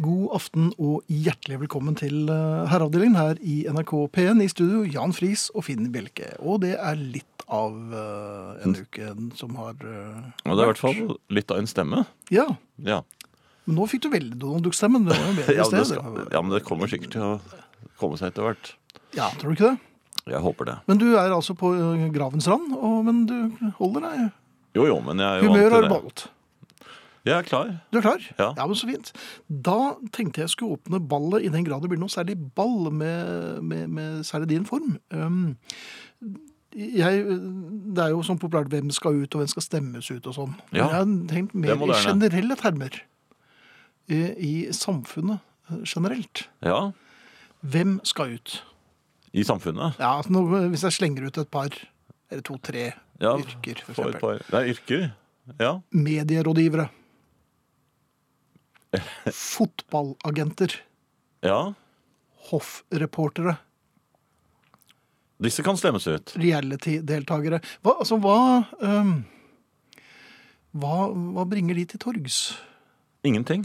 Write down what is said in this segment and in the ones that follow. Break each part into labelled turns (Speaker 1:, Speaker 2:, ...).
Speaker 1: God aften og hjertelig velkommen til eh, Herreavdelingen her i NRK P1. I studio Jan Friis og Finn Bjelke. Og det er litt av eh, en uke som har eh,
Speaker 2: Og Mm. det er i hvert fall litt av en stemme.
Speaker 1: Ja.
Speaker 2: Ja,
Speaker 1: Men nå fikk du veldig Donald Duck-stemme. men Det var jo bedre i
Speaker 2: ja, men det
Speaker 1: sted.
Speaker 2: skal, ja, men det kommer sikkert til å komme seg etter hvert.
Speaker 1: Ja, tror du ikke det?
Speaker 2: Jeg håper det.
Speaker 1: Men du er altså på eh, gravens rand, og, men du holder deg.
Speaker 2: Jo, jo, men jeg er jo
Speaker 1: Humøret
Speaker 2: vant
Speaker 1: har
Speaker 2: til det.
Speaker 1: beholdt.
Speaker 2: Jeg er klar.
Speaker 1: Du er klar?
Speaker 2: Ja.
Speaker 1: men Så fint. Da tenkte jeg skulle åpne ballet i den grad det blir noe særlig ball med, med, med særlig din form. Um, jeg, det er jo sånn populært hvem skal ut, og hvem skal stemmes ut og sånn. Men
Speaker 2: Ja.
Speaker 1: Jeg har tenkt
Speaker 2: Det er
Speaker 1: mer i
Speaker 2: moderne.
Speaker 1: generelle termer. I, I samfunnet eh, generelt.
Speaker 2: Ja,
Speaker 1: Hvem skal ut?
Speaker 2: i samfunnet.
Speaker 1: Ja, altså nå, Hvis jeg slenger ut et par, eller to-tre
Speaker 2: Ja,
Speaker 1: yrker, for
Speaker 2: For et
Speaker 1: eksempel.
Speaker 2: par. Nei, yrker. Ja.
Speaker 1: Medierådgivere. Fotballagenter.
Speaker 2: ja.
Speaker 1: hoffreportere,
Speaker 2: Disse kan stemmes ut.
Speaker 1: reality-deltakere. Hva, altså, hva, ehm, hva, hva bringer de til torgs?
Speaker 2: Ingenting.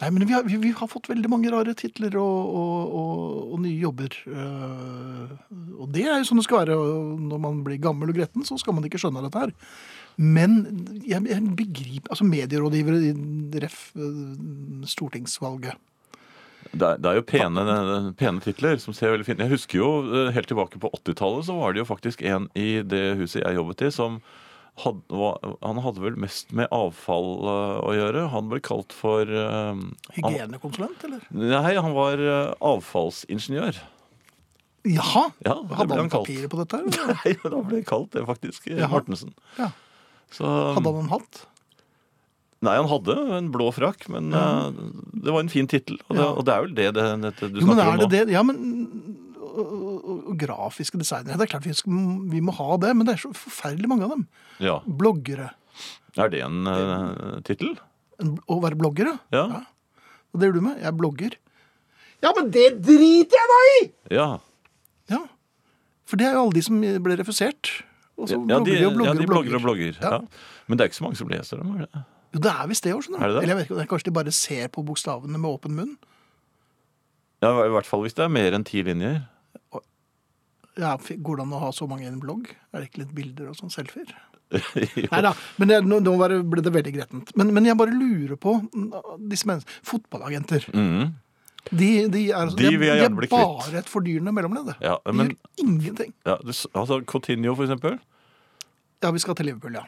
Speaker 1: Nei, men vi har, vi, vi har fått veldig mange rare titler og, og, og, og nye jobber. Eh, og det er jo sånn det skal være. og Når man blir gammel og gretten, så skal man ikke skjønne dette her. Men jeg, jeg begriper Altså, medierådgivere i ref. eh, stortingsvalget.
Speaker 2: Det er, det er jo pene, pene titler som ser veldig fint Jeg husker jo eh, helt tilbake på 80-tallet, så var det jo faktisk en i det huset jeg jobbet i, som had, var, han hadde vel mest med avfall eh, å gjøre. Han ble kalt for eh, han,
Speaker 1: Hygienekonsulent, eller?
Speaker 2: Nei, han var eh, avfallsingeniør.
Speaker 1: Jaha!
Speaker 2: Ja, det
Speaker 1: Hadde
Speaker 2: ble
Speaker 1: han
Speaker 2: han kalt.
Speaker 1: papirer på dette? her? eller?
Speaker 2: Nei, da ble det kalt det, faktisk. eh,
Speaker 1: Jaha.
Speaker 2: Mortensen.
Speaker 1: Ja.
Speaker 2: Så,
Speaker 1: Hadde han en hatt?
Speaker 2: Nei, han hadde en blå frakk, men eh, det var en fin tittel. Og, det-
Speaker 1: Ja.
Speaker 2: og det er vel det, det, dette du
Speaker 1: Jo, men
Speaker 2: snakker
Speaker 1: er
Speaker 2: om
Speaker 1: det
Speaker 2: nå.
Speaker 1: det? Ja, men og, og, og grafiske designere Det er klart vi, skal, vi må ha det, men det er så forferdelig mange av dem.
Speaker 2: Ja.
Speaker 1: Bloggere.
Speaker 2: Er det en uh, tittel?
Speaker 1: En, å være bloggere.
Speaker 2: Ja.
Speaker 1: Og det gjør du med. Jeg blogger. Ja, men det driter jeg da i!
Speaker 2: ja.
Speaker 1: Ja. For det er jo alle de som ble refusert. Og så
Speaker 2: Ja,
Speaker 1: blogger de og blogger
Speaker 2: ja, de blogger og
Speaker 1: og blogger.
Speaker 2: blogger.
Speaker 1: Ja.
Speaker 2: Ja. Men det er ikke så mange som leser dem. er det?
Speaker 1: Jo, det er visst det òg, skjønner du.
Speaker 2: Er det det?
Speaker 1: Eller jeg vet ikke, det er kanskje de bare ser på bokstavene med åpen munn.
Speaker 2: Ja, I hvert fall hvis det er mer enn ti linjer.
Speaker 1: Ja, f- Går det an å ha så mange i en blogg? Er det ikke litt bilder og sånn? Selfier?
Speaker 2: Jo.
Speaker 1: Nei da, men det, nå, nå var det- ble det veldig grettent. Men, men jeg bare lurer på mm, disse menneskene. Fotballagenter.
Speaker 2: Mhm.
Speaker 1: De, de er,
Speaker 2: De vil jeg
Speaker 1: er
Speaker 2: gjerne bli kvitt.
Speaker 1: bare et fordyrende mellomledd.
Speaker 2: Ja,
Speaker 1: de
Speaker 2: men-
Speaker 1: gjør ingenting.
Speaker 2: ja, du s- altså, Coutinho, for eksempel.
Speaker 1: Ja, vi skal til Liverpool, ja.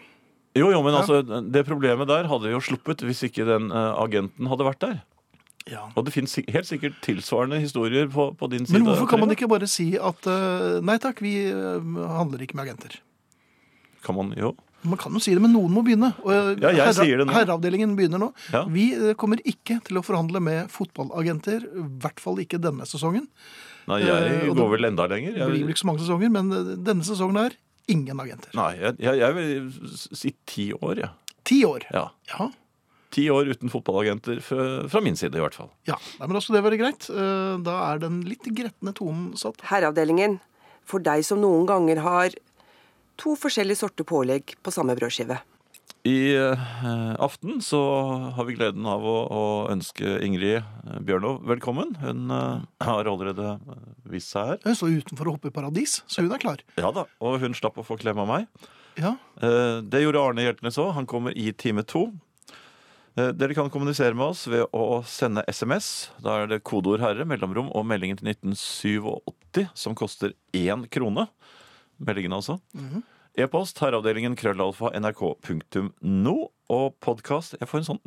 Speaker 2: Jo, jo, men altså, det problemet der hadde jo sluppet hvis ikke den eh, agenten hadde vært der.
Speaker 1: ja.
Speaker 2: Og det finnes sik- helt sikkert tilsvarende historier på, på din side.
Speaker 1: Men hvorfor kan man
Speaker 2: Trine.
Speaker 1: ikke bare si at eh, nei takk, vi eh, handler ikke med agenter?
Speaker 2: Kan man, jo.
Speaker 1: Man kan jo si det, men noen må begynne. Og, eh,
Speaker 2: Ja, jeg sier det nå.
Speaker 1: Herreavdelingen begynner nå.
Speaker 2: Ja.
Speaker 1: Vi eh, kommer ikke til å forhandle med fotballagenter, i hvert fall ikke denne sesongen.
Speaker 2: Nei,
Speaker 1: Eh,
Speaker 2: jeg
Speaker 1: og det
Speaker 2: går vel enda lenger.
Speaker 1: Det blir vel
Speaker 2: Jeg,
Speaker 1: ikke så mange sesonger, men eh, denne sesongen er ingen agenter.
Speaker 2: nei, jeg, jeg, jeg vil si ti år, jeg.
Speaker 1: Ti år.
Speaker 2: Ja.
Speaker 1: Ja.
Speaker 2: Ti år uten fotballagenter, fra, fra min side i hvert fall.
Speaker 1: Ja, Nei, men da skal det være greit. Eh, Da er den litt gretne tonen satt.
Speaker 3: Herreavdelingen, for deg som noen ganger har to forskjellige sorter pålegg på samme brødskive.
Speaker 2: I eh, aften så har vi gleden av å, å ønske Ingrid eh, Bjørnov velkommen. Hun eh, har allerede eh, vist seg her.
Speaker 1: Hun står utenfor og hopper i paradis, så hun er klar.
Speaker 2: Ja da, Og hun slapp å få klem av meg.
Speaker 1: Ja,
Speaker 2: Eh, Det gjorde Arne Hjeltnes òg. Han kommer i time to. Eh, Dere kan kommunisere med oss ved å sende SMS. Da er det kodeord 'herre', mellomrom og meldingen til 1987, som koster én krone. Meldingen, altså.
Speaker 1: Mhm.
Speaker 2: E-post herreavdelingen krøllalfa nrk.no. Og podkast Jeg får en sånn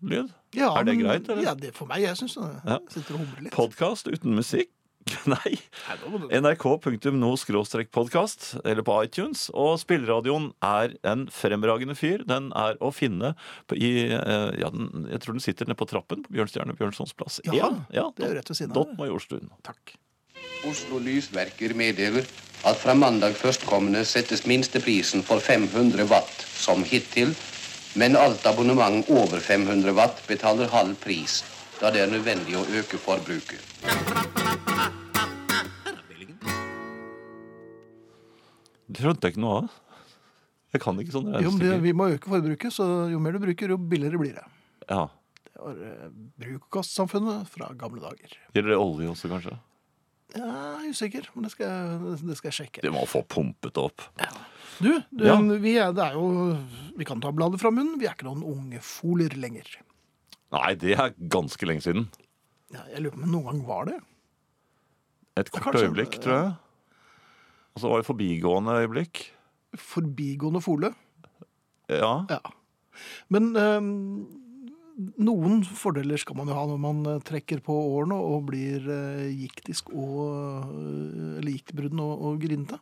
Speaker 2: mm-lyd.
Speaker 1: ja
Speaker 2: Er det
Speaker 1: men-
Speaker 2: greit, eller?
Speaker 1: Ja, det for meg. Jeg syns det.
Speaker 2: Ja.
Speaker 1: Sitter og humrer litt.
Speaker 2: Podkast uten musikk? Nei.
Speaker 1: Nei, nå må du-
Speaker 2: nrk.no-podkast, eller på iTunes. Og spilleradioen er en fremragende fyr. Den er å finne på, i eh, ja, den, Jeg tror den sitter nede på trappen på Bjørnstjerne Bjørnsons plass.
Speaker 1: Jaha, det er jo rett ved siden av
Speaker 2: Dott
Speaker 1: det.
Speaker 2: Majorstuen.
Speaker 1: Takk.
Speaker 4: Oslo Lysverker meddeler at fra mandag førstkommende settes minsteprisen for 500 watt som som hittil, men alt abonnement over 500 watt betaler halv pris, da det er nødvendig å øke forbruket.
Speaker 2: Det skjønte jeg ikke noe av. Jeg kan ikke sånne
Speaker 1: Jo, men det,
Speaker 2: regnestykker.
Speaker 1: vi må øke forbruket, så jo mer du bruker, jo billigere blir det.
Speaker 2: Ja.
Speaker 1: Det var eh, bruk-og-kast-samfunnet fra gamle dager.
Speaker 2: Gjelder det olje også, kanskje?
Speaker 1: Jeg er usikker, men det skal, jeg- det skal jeg sjekke.
Speaker 2: Du må få pumpet det opp.
Speaker 1: Du, du
Speaker 2: Ja.
Speaker 1: vi, er, det er jo, vi kan ta bladet fra munnen. Vi er ikke noen unge foler lenger.
Speaker 2: Nei, det er ganske lenge siden.
Speaker 1: Ja, Jeg lurer på om noen gang var det.
Speaker 2: Et kort
Speaker 1: kanskje-
Speaker 2: øyeblikk, tror jeg. Og så var det forbigående øyeblikk.
Speaker 1: Forbigående fole.
Speaker 2: Ja.
Speaker 1: Ja. Men eh, noen fordeler skal man jo ha når man eh, trekker på årene og blir eh, giktisk og eh, Eller giktbruden og, og grinete.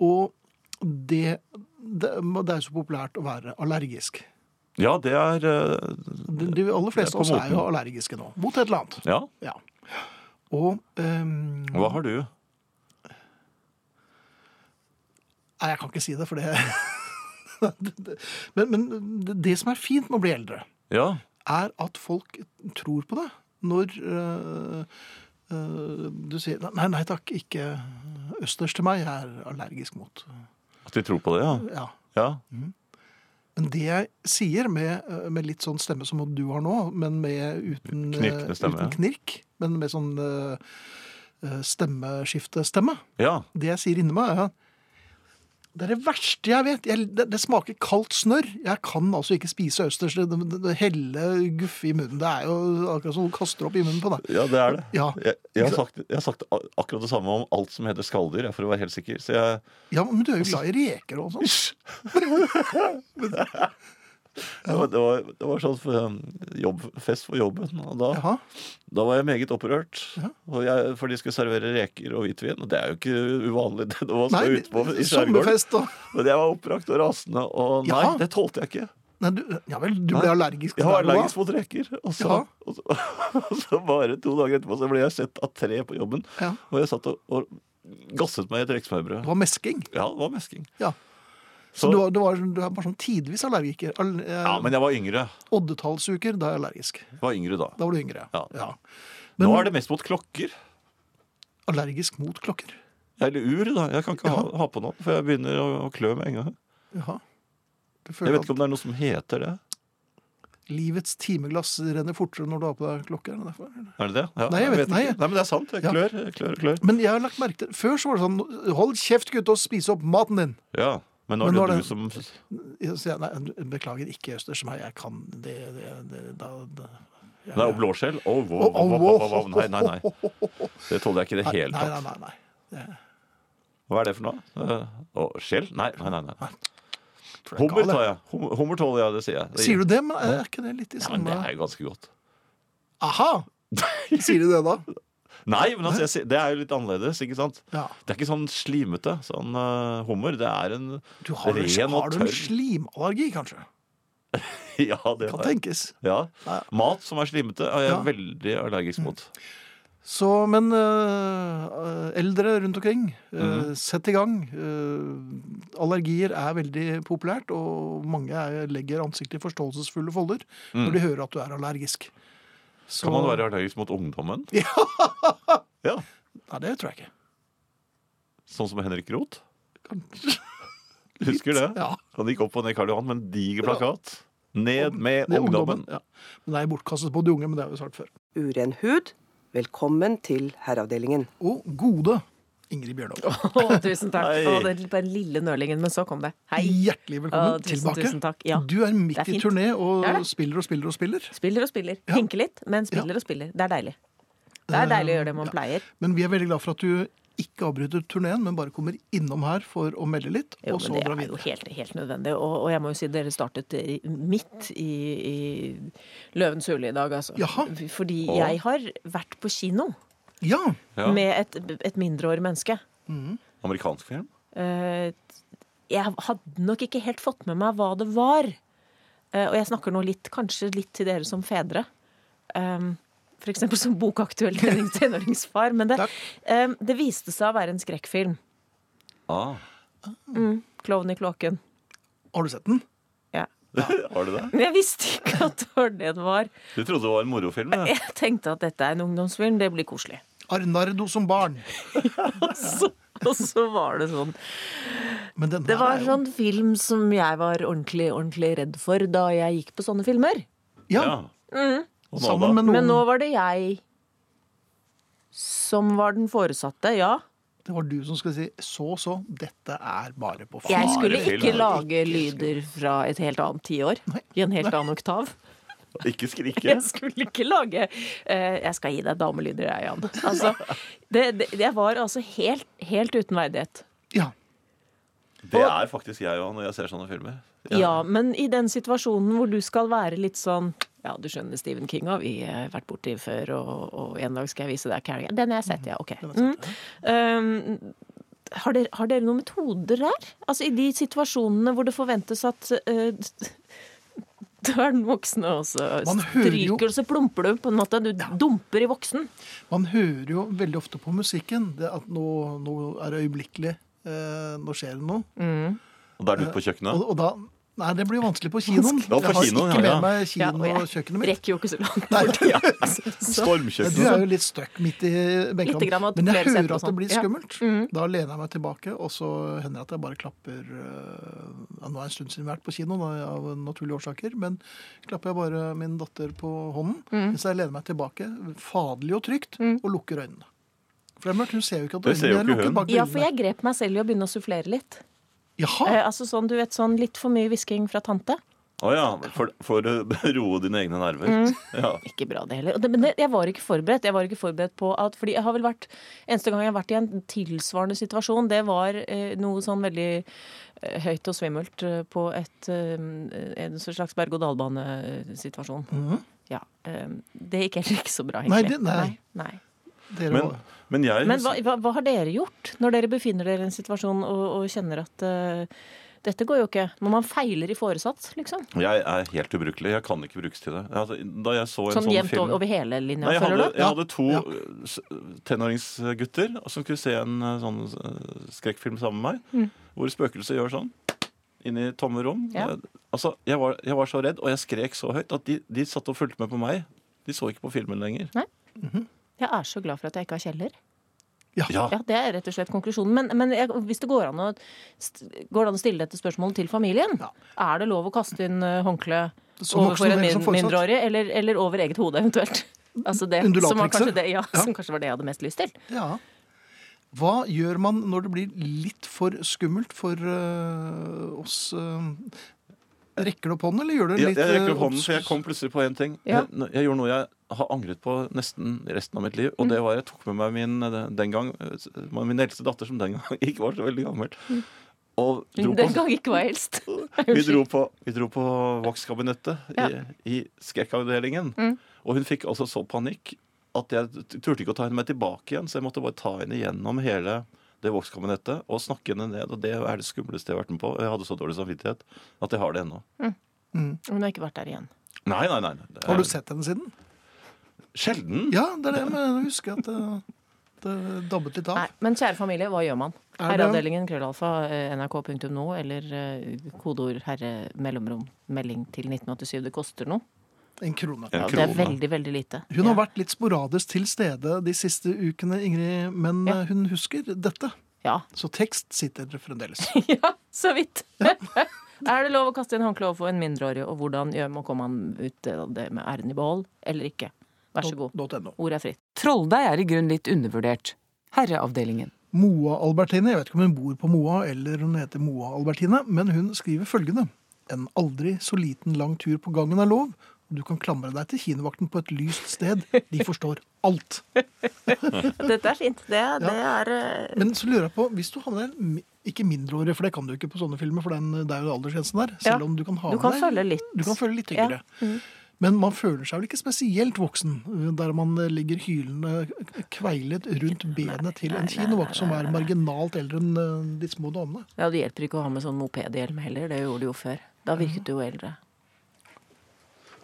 Speaker 1: Og det, det, det er jo så populært å være allergisk.
Speaker 2: Ja, det er eh,
Speaker 1: De, de aller fleste av
Speaker 2: Det er på
Speaker 1: oss er jo
Speaker 2: moten.
Speaker 1: allergiske nå. Mot et eller annet.
Speaker 2: Ja.
Speaker 1: Ja. Og ehm,
Speaker 2: Hva har du?
Speaker 1: Nei, jeg kan ikke si det, for det men, men det- det som er fint med å bli eldre,
Speaker 2: Ja.
Speaker 1: er at folk tror på det. Når øh, øh, du sier Nei, nei takk, ikke østers til meg. Jeg er allergisk mot
Speaker 2: At de tror på det, ja.
Speaker 1: Ja.
Speaker 2: ja.
Speaker 1: Men det jeg sier med, øh, med litt sånn stemme som du har nå, men med uten, øh,
Speaker 2: Knirkende stemme,
Speaker 1: uten
Speaker 2: ja.
Speaker 1: knirk, men med sånn øh, øh, stemmeskiftestemme,
Speaker 2: Ja.
Speaker 1: Det jeg sier inni meg, er at det er det verste jeg vet. Jeg, det, det smaker kaldt snørr. Jeg kan altså ikke spise østers. Det, det, det helle guffe i munnen. Det er jo akkurat som du kaster opp i munnen på deg.
Speaker 2: Ja, det er det.
Speaker 1: Ja.
Speaker 2: Jeg, jeg, har sagt, jeg har sagt a- akkurat det samme om alt som heter skalldyr, jeg, for å være helt sikker. Så jeg
Speaker 1: Ja, men du er jo glad i reker og sånn.
Speaker 2: det var, det var, det var sånn for, um, jobb, fest for jobben, og da,
Speaker 1: Jaha.
Speaker 2: da var jeg meget opprørt. Og jeg, for de skulle servere reker og hvitvin, og det er jo ikke uvanlig. Det var
Speaker 1: Nei,
Speaker 2: ute på i skjærgården.
Speaker 1: sommerfest og
Speaker 2: Men jeg var oppbrakt og rasende, og nei,
Speaker 1: Jaha.
Speaker 2: det tålte jeg ikke.
Speaker 1: Nei, du, ja vel, du ble
Speaker 2: Nei.
Speaker 1: allergisk.
Speaker 2: Jeg
Speaker 1: til
Speaker 2: var
Speaker 1: det, da.
Speaker 2: allergisk mot reker. Og så,
Speaker 1: Jaha.
Speaker 2: og, så, og så bare to dager etterpå så ble jeg sett av tre på jobben,
Speaker 1: Ja.
Speaker 2: og jeg satt og, og gasset meg i et
Speaker 1: Det
Speaker 2: rekesmørbrød.
Speaker 1: var mesking.
Speaker 2: Ja, det var mesking.
Speaker 1: Ja. Så,
Speaker 2: Så-
Speaker 1: du, var, du, var, du er bare sånn tidvis allergiker. Al, eh,
Speaker 2: Ja, men jeg var yngre.
Speaker 1: Oddetallsuker, da er jeg allergisk.
Speaker 2: Jeg var yngre da.
Speaker 1: Da var du yngre.
Speaker 2: Ja.
Speaker 1: Men
Speaker 2: Nå er det mest mot klokker.
Speaker 1: allergisk mot klokker.
Speaker 2: Eller ur, da. Jeg kan ikke ha, ha på noe, for jeg begynner å, å klø med en gang.
Speaker 1: Jaha. Du føler
Speaker 2: Jeg vet
Speaker 1: at-
Speaker 2: ikke om det er noe som heter det.
Speaker 1: Livets timeglass renner fortere når du har på deg klokke. er det derfor?
Speaker 2: Er det det? Ja,
Speaker 1: Nei, jeg vet- nei,
Speaker 2: ikke.
Speaker 1: jeg-
Speaker 2: nei, men det er sant. Jeg
Speaker 1: Ja.
Speaker 2: klør, jeg klør, jeg klør.
Speaker 1: Men jeg har lagt merke til, før så var det sånn Hold kjeft, gutt, og spis opp maten din!
Speaker 2: Ja, men
Speaker 1: Men
Speaker 2: nå
Speaker 1: nå
Speaker 2: er det
Speaker 1: er det-
Speaker 2: du som
Speaker 1: Jeg sier, nei, beklager, ikke østers som meg. Jeg kan det, det, det da, da.
Speaker 2: Det er blåskjell. Å, wow,
Speaker 1: Å,
Speaker 2: wow,
Speaker 1: å,
Speaker 2: wow, wow,
Speaker 1: å,
Speaker 2: wow. Nei, nei, nei.
Speaker 1: å, å, å, å.
Speaker 2: Det tåler jeg ikke i det
Speaker 1: Nei,
Speaker 2: hele
Speaker 1: nei,
Speaker 2: tatt.
Speaker 1: nei, nei.
Speaker 2: Hva er det for noe? Eh, Å, skjell? Nei, nei, nei. nei.
Speaker 1: Tror jeg er
Speaker 2: Hummer
Speaker 1: gal,
Speaker 2: tar
Speaker 1: jeg.
Speaker 2: jeg. Hum- Hummer tåler jeg, det sier jeg. Det-
Speaker 1: Sier du det, men er ikke det litt i
Speaker 2: Ja, men
Speaker 1: samme
Speaker 2: det er jo ganske godt.
Speaker 1: Aha! Sier du det, da?
Speaker 2: Nei, men altså, jeg, sier- det er jo litt annerledes, ikke sant?
Speaker 1: Ja.
Speaker 2: Det er ikke sånn slimete, sånn eh, hummer. Det er en
Speaker 1: Du har,
Speaker 2: ren
Speaker 1: har
Speaker 2: og
Speaker 1: du en
Speaker 2: tørr
Speaker 1: slimallergi, kanskje?
Speaker 2: Ja, det
Speaker 1: Kan
Speaker 2: har jeg.
Speaker 1: tenkes.
Speaker 2: Ja.
Speaker 1: Ja.
Speaker 2: Mat som er slimete, er jeg
Speaker 1: Ja. Mm.
Speaker 2: veldig allergisk mot.
Speaker 1: Så, men øh, øh, eldre rundt omkring, øh,
Speaker 2: Mhm.
Speaker 1: sett i gang. Øh, allergier er veldig populært, og mange er, legger ansiktet i forståelsesfulle folder når de hører at du er allergisk. Så,
Speaker 2: Mhm. Kan man være allergisk mot ungdommen? Ja!
Speaker 1: Nei, det tror jeg ikke.
Speaker 2: Sånn som Henrik Roth?
Speaker 1: Kanskje.
Speaker 2: Husker det?
Speaker 1: Ja.
Speaker 2: Han gikk opp og ned Karl Johan med en diger plakat. Ned med
Speaker 1: Det er
Speaker 2: ungdommen.
Speaker 1: Ja. Men det er bortkastet på de unge, men det har vi sagt før.
Speaker 3: Uren hud, velkommen til herreavdelingen.
Speaker 1: Og gode Ingrid Bjørnov.
Speaker 5: Å, tusen takk.
Speaker 2: Hei.
Speaker 5: Å, den, den lille nølingen, men så kom det. Hei.
Speaker 1: Hjertelig velkommen
Speaker 5: Å, tusen,
Speaker 1: tilbake.
Speaker 5: tusen takk. Ja.
Speaker 1: Du er midt
Speaker 5: Det
Speaker 1: i
Speaker 5: er fint.
Speaker 1: turné og
Speaker 5: Det er det.
Speaker 1: spiller og spiller og spiller.
Speaker 5: Spiller og spiller. Henker litt, men spiller og spiller. Det er deilig.
Speaker 1: Eh,
Speaker 5: Det er deilig å gjøre det man pleier.
Speaker 1: Men vi er veldig glad for at du ikke avbryter turneen, men bare kommer innom her for å melde litt,
Speaker 5: Jo,
Speaker 1: og så
Speaker 5: men det
Speaker 1: dra
Speaker 5: er jo
Speaker 1: videre.
Speaker 5: helt, helt nødvendig. Og, og jeg må jo si dere startet i- midt i, i Løvens hule i dag, altså.
Speaker 1: Jaha.
Speaker 5: Fordi jeg har vært på kino
Speaker 1: Ja,
Speaker 2: Ja.
Speaker 5: med et, et mindreårig menneske.
Speaker 2: Amerikansk film?
Speaker 5: Eh, jeg hadde nok ikke helt fått med meg hva det var. Eh, og jeg snakker nå litt, kanskje litt til dere som fedre. Um, for eksempel som bokaktuell tenåring- tenåringsfar. Men det,
Speaker 1: Takk.
Speaker 5: em, det viste seg å være en skrekkfilm.
Speaker 2: Ah.
Speaker 5: Klovn i kloakken.
Speaker 1: Har du sett den?
Speaker 5: Ja.
Speaker 2: Har du det?
Speaker 5: Men jeg visste ikke at det var det det var.
Speaker 2: Du trodde det var en morofilm? ja.
Speaker 5: Jeg tenkte at dette er en ungdomsfilm, det blir koselig.
Speaker 1: Arnardo som barn.
Speaker 5: Så, og så var det sånn.
Speaker 1: Men denne
Speaker 6: Det var
Speaker 1: er jo-
Speaker 6: sånn film som jeg var ordentlig, ordentlig redd for da jeg gikk på sånne filmer.
Speaker 1: Ja,
Speaker 2: ja.
Speaker 5: Mm-hmm.
Speaker 2: Og nå
Speaker 1: sammen med noen.
Speaker 5: Men nå var det jeg som var den foresatte, ja.
Speaker 1: Det var du som skulle si så, så, dette er bare på
Speaker 6: Jeg
Speaker 1: far.
Speaker 6: skulle
Speaker 2: film,
Speaker 6: ikke
Speaker 2: ja.
Speaker 6: lage lyder fra et helt annet tiår. I en helt annen oktav.
Speaker 2: da. Ikke skrike.
Speaker 5: Jeg skulle ikke lage eh, Jeg skal gi deg damelyder, jeg, Jan. Altså, det, det, jeg var altså helt, helt uten verdighet.
Speaker 1: Ja.
Speaker 2: Det er faktisk jeg òg når jeg ser sånne filmer.
Speaker 5: Ja. men i den situasjonen hvor du skal være litt sånn ja, du skjønner Stephen King har vi eh, vært borti før, og, og en dag skal jeg vise deg Carrie. Den har jeg sett, ja. Ok. Mm. Um, har, dere, har dere noen metoder der? Altså i de situasjonene hvor det forventes at eh, da er den voksne også.
Speaker 1: Man hører jo-
Speaker 5: Stryker, og så plumper du på en måte. Du dumper i voksen.
Speaker 1: Man hører jo veldig ofte på musikken det at nå, nå er det øyeblikkelig. Eh, nå skjer det noe.
Speaker 2: Og da er du ute på
Speaker 1: Og,
Speaker 2: kjøkkenet.
Speaker 1: og da Nei, det blir jo vanskelig på kinoen.
Speaker 2: Ja, på
Speaker 1: Jeg har
Speaker 2: kinoen,
Speaker 1: ikke
Speaker 2: ja, ja.
Speaker 1: med meg
Speaker 5: Ja, og
Speaker 1: kino og
Speaker 5: jeg
Speaker 1: kjøkkenet mitt.
Speaker 5: rekker jo ikke så langt bort. Ja, så-
Speaker 1: Du er
Speaker 2: Stormkjøkkenet.
Speaker 1: jo litt stuck midt i
Speaker 5: Lite grann,
Speaker 1: benken.
Speaker 5: og
Speaker 1: Men jeg
Speaker 5: flere seter
Speaker 1: hører
Speaker 5: og
Speaker 1: at det
Speaker 5: sånn.
Speaker 1: blir
Speaker 5: Ja.
Speaker 1: skummelt. Da lener jeg meg tilbake, og så hender det at jeg bare klapper eh, ja, Nå er det en stund siden vi har vært på kino, da, av naturlige årsaker, men klapper jeg bare min datter på hånden
Speaker 5: Mm.
Speaker 1: mens jeg lener meg tilbake, faderlig og trygt, og lukker øynene. For det er mørkt, hun ser jo ikke at
Speaker 2: Det ser jo
Speaker 1: øynene er
Speaker 2: ikke hun.
Speaker 1: lukket bak
Speaker 5: Ja, for
Speaker 1: brillene.
Speaker 5: jeg grep meg selv i å begynne å sufflere litt.
Speaker 1: Jaha!
Speaker 5: Eh, altså sånn, du vet, sånn litt for mye hvisking fra tante.
Speaker 2: Å ja. For, for å roe dine egne
Speaker 5: Mm.
Speaker 2: nerver. Ja.
Speaker 5: Ikke bra, det heller. Og det, men det, jeg var ikke forberedt. Jeg var ikke forberedt på at, fordi jeg har vel vært, Eneste gang jeg har vært i en tilsvarende situasjon, det var eh, noe sånn veldig eh, høyt og svimmelt eh, på et, eh, en slags berg-og-dal-bane-situasjon. Ja. Eh, det gikk heller ikke så bra,
Speaker 1: Mhm. Nei,
Speaker 5: egentlig.
Speaker 1: det- nei.
Speaker 5: nei, nei.
Speaker 1: Dere
Speaker 2: Men,
Speaker 1: var-
Speaker 2: men jeg
Speaker 5: Men hva, hva, hva har dere gjort når dere befinner dere i en situasjon og, og kjenner at eh, dette går jo ikke? Når man feiler i foresatt, liksom.
Speaker 2: Jeg er helt ubrukelig. Jeg kan ikke brukes til det. Altså, da jeg så en
Speaker 5: Sånn
Speaker 2: sånn
Speaker 5: jevnt
Speaker 2: film
Speaker 5: over, over hele linja,
Speaker 2: Nei, jeg
Speaker 5: føler
Speaker 2: hadde,
Speaker 5: du?
Speaker 2: jeg hadde to
Speaker 1: Ja.
Speaker 2: eh, s- tenåringsgutter som skulle se en eh, sånn eh, skrekkfilm sammen med
Speaker 5: Mm.
Speaker 2: meg. Hvor spøkelset gjør sånn inn i tomme rom.
Speaker 5: Ja.
Speaker 2: Jeg, altså, jeg, var, jeg var så redd, og jeg skrek så høyt at de, de satt og fulgte med på meg. De så ikke på filmen lenger.
Speaker 5: Jeg er så glad for at jeg ikke har kjeller.
Speaker 2: Ja,
Speaker 5: Ja, Det er rett og slett konklusjonen. Men, men jeg, hvis det går an, å, st- går det an å stille dette spørsmålet til familien
Speaker 1: Ja.
Speaker 5: Er det lov å kaste inn eh, håndkle
Speaker 1: Som voksen
Speaker 5: overfor en
Speaker 1: eller
Speaker 5: min,
Speaker 1: som foresatt?
Speaker 5: mindreårig, eller, eller over eget hode eventuelt? Altså det, som var
Speaker 1: Undulatrikset?
Speaker 5: kanskje det, ja,
Speaker 1: Ja.
Speaker 5: som kanskje var det jeg hadde mest lyst til.
Speaker 1: Ja. Hva gjør man når det blir litt for skummelt for øh, oss? øh? rekker du opp hånden, eller gjør du
Speaker 2: Jeg,
Speaker 1: litt
Speaker 2: jeg rekker
Speaker 1: øh,
Speaker 2: opp hånden,
Speaker 1: obs-
Speaker 2: for jeg kom plutselig på én ting.
Speaker 5: Ja.
Speaker 2: Jeg, jeg gjorde noe jeg har angret på nesten resten av mitt liv.
Speaker 5: Mm.
Speaker 2: Og det var jeg tok med meg min, eh, den gang, eh, min eldste datter, som den gang ikke var så veldig gammel. Og dro på
Speaker 5: Mm. Den gang ikke hva helst.
Speaker 2: Vi dro på, vi dro på Vox-kabinettet
Speaker 5: Ja. Mm.
Speaker 2: i, i skrekkavdelingen. Og hun fikk altså så panikk at jeg t- turte ikke å ta henne med tilbake igjen. Så jeg måtte bare ta henne gjennom hele det Vox-kabinettet og snakke henne ned. Og det er det skumleste jeg har vært med på. Jeg hadde så dårlig samvittighet at jeg har det ennå.
Speaker 5: Hun har ikke vært der igjen.
Speaker 2: Nei, nei, nei. nei. Det
Speaker 1: Har du
Speaker 2: er
Speaker 1: sett henne siden?
Speaker 2: Sjelden.
Speaker 1: Ja, det er det, men jeg husker at det, det dabbet litt av.
Speaker 5: Nei, men kjære familie, hva gjør man?
Speaker 1: Er det-
Speaker 5: Herreavdelingen, krøllalfa, eh, nrk.no eller eh, kodeord herre mellomrom melding til 1987. Det koster noe.
Speaker 1: En krone.
Speaker 2: En
Speaker 5: Ja, det er
Speaker 2: krone.
Speaker 5: veldig, veldig lite.
Speaker 1: Hun har
Speaker 5: Ja.
Speaker 1: vært litt sporadisk til stede de siste ukene, Ingrid, men
Speaker 5: Ja.
Speaker 1: øh, hun husker dette.
Speaker 5: Ja,
Speaker 1: Så tekst sitter fremdeles.
Speaker 5: Ja, så vidt. er det lov å kaste inn håndkle overfor en mindreårig, og hvordan gjør man kommer man ut av det med æren i behold eller ikke? Vær så god.
Speaker 1: .no.
Speaker 5: Ordet er fritt.
Speaker 7: Trolldeig er i grunnen litt undervurdert. Herreavdelingen.
Speaker 1: Moa Albertine, jeg vet ikke om hun bor på Moa eller hun heter Moa Albertine, men hun skriver følgende. En aldri så liten lang tur på gangen er lov, og du kan klamre deg til kinovakten på et lyst sted. De forstår alt.
Speaker 5: Dette er fint. Det, det er eh,
Speaker 1: Men så lurer jeg på, hvis du havner der, mi- ikke mindreårige, for det kan du ikke på sånne filmer, for den, det er jo aldersgrensen der, selv
Speaker 5: Ja.
Speaker 1: om du kan ha
Speaker 5: Du
Speaker 1: med
Speaker 5: kan
Speaker 1: deg-
Speaker 5: følge litt.
Speaker 1: Du kan føle litt
Speaker 5: Ja. Mm.
Speaker 1: yngre. Men man føler seg vel ikke spesielt voksen øh, der man øh, ligger hylende k- kveilet rundt benet til en kinovakt som er marginalt eldre enn øh, de små damene.
Speaker 5: Ja, det hjelper ikke å ha med sånn mopedhjelm heller. Det gjorde du jo før. Da virket du jo eldre.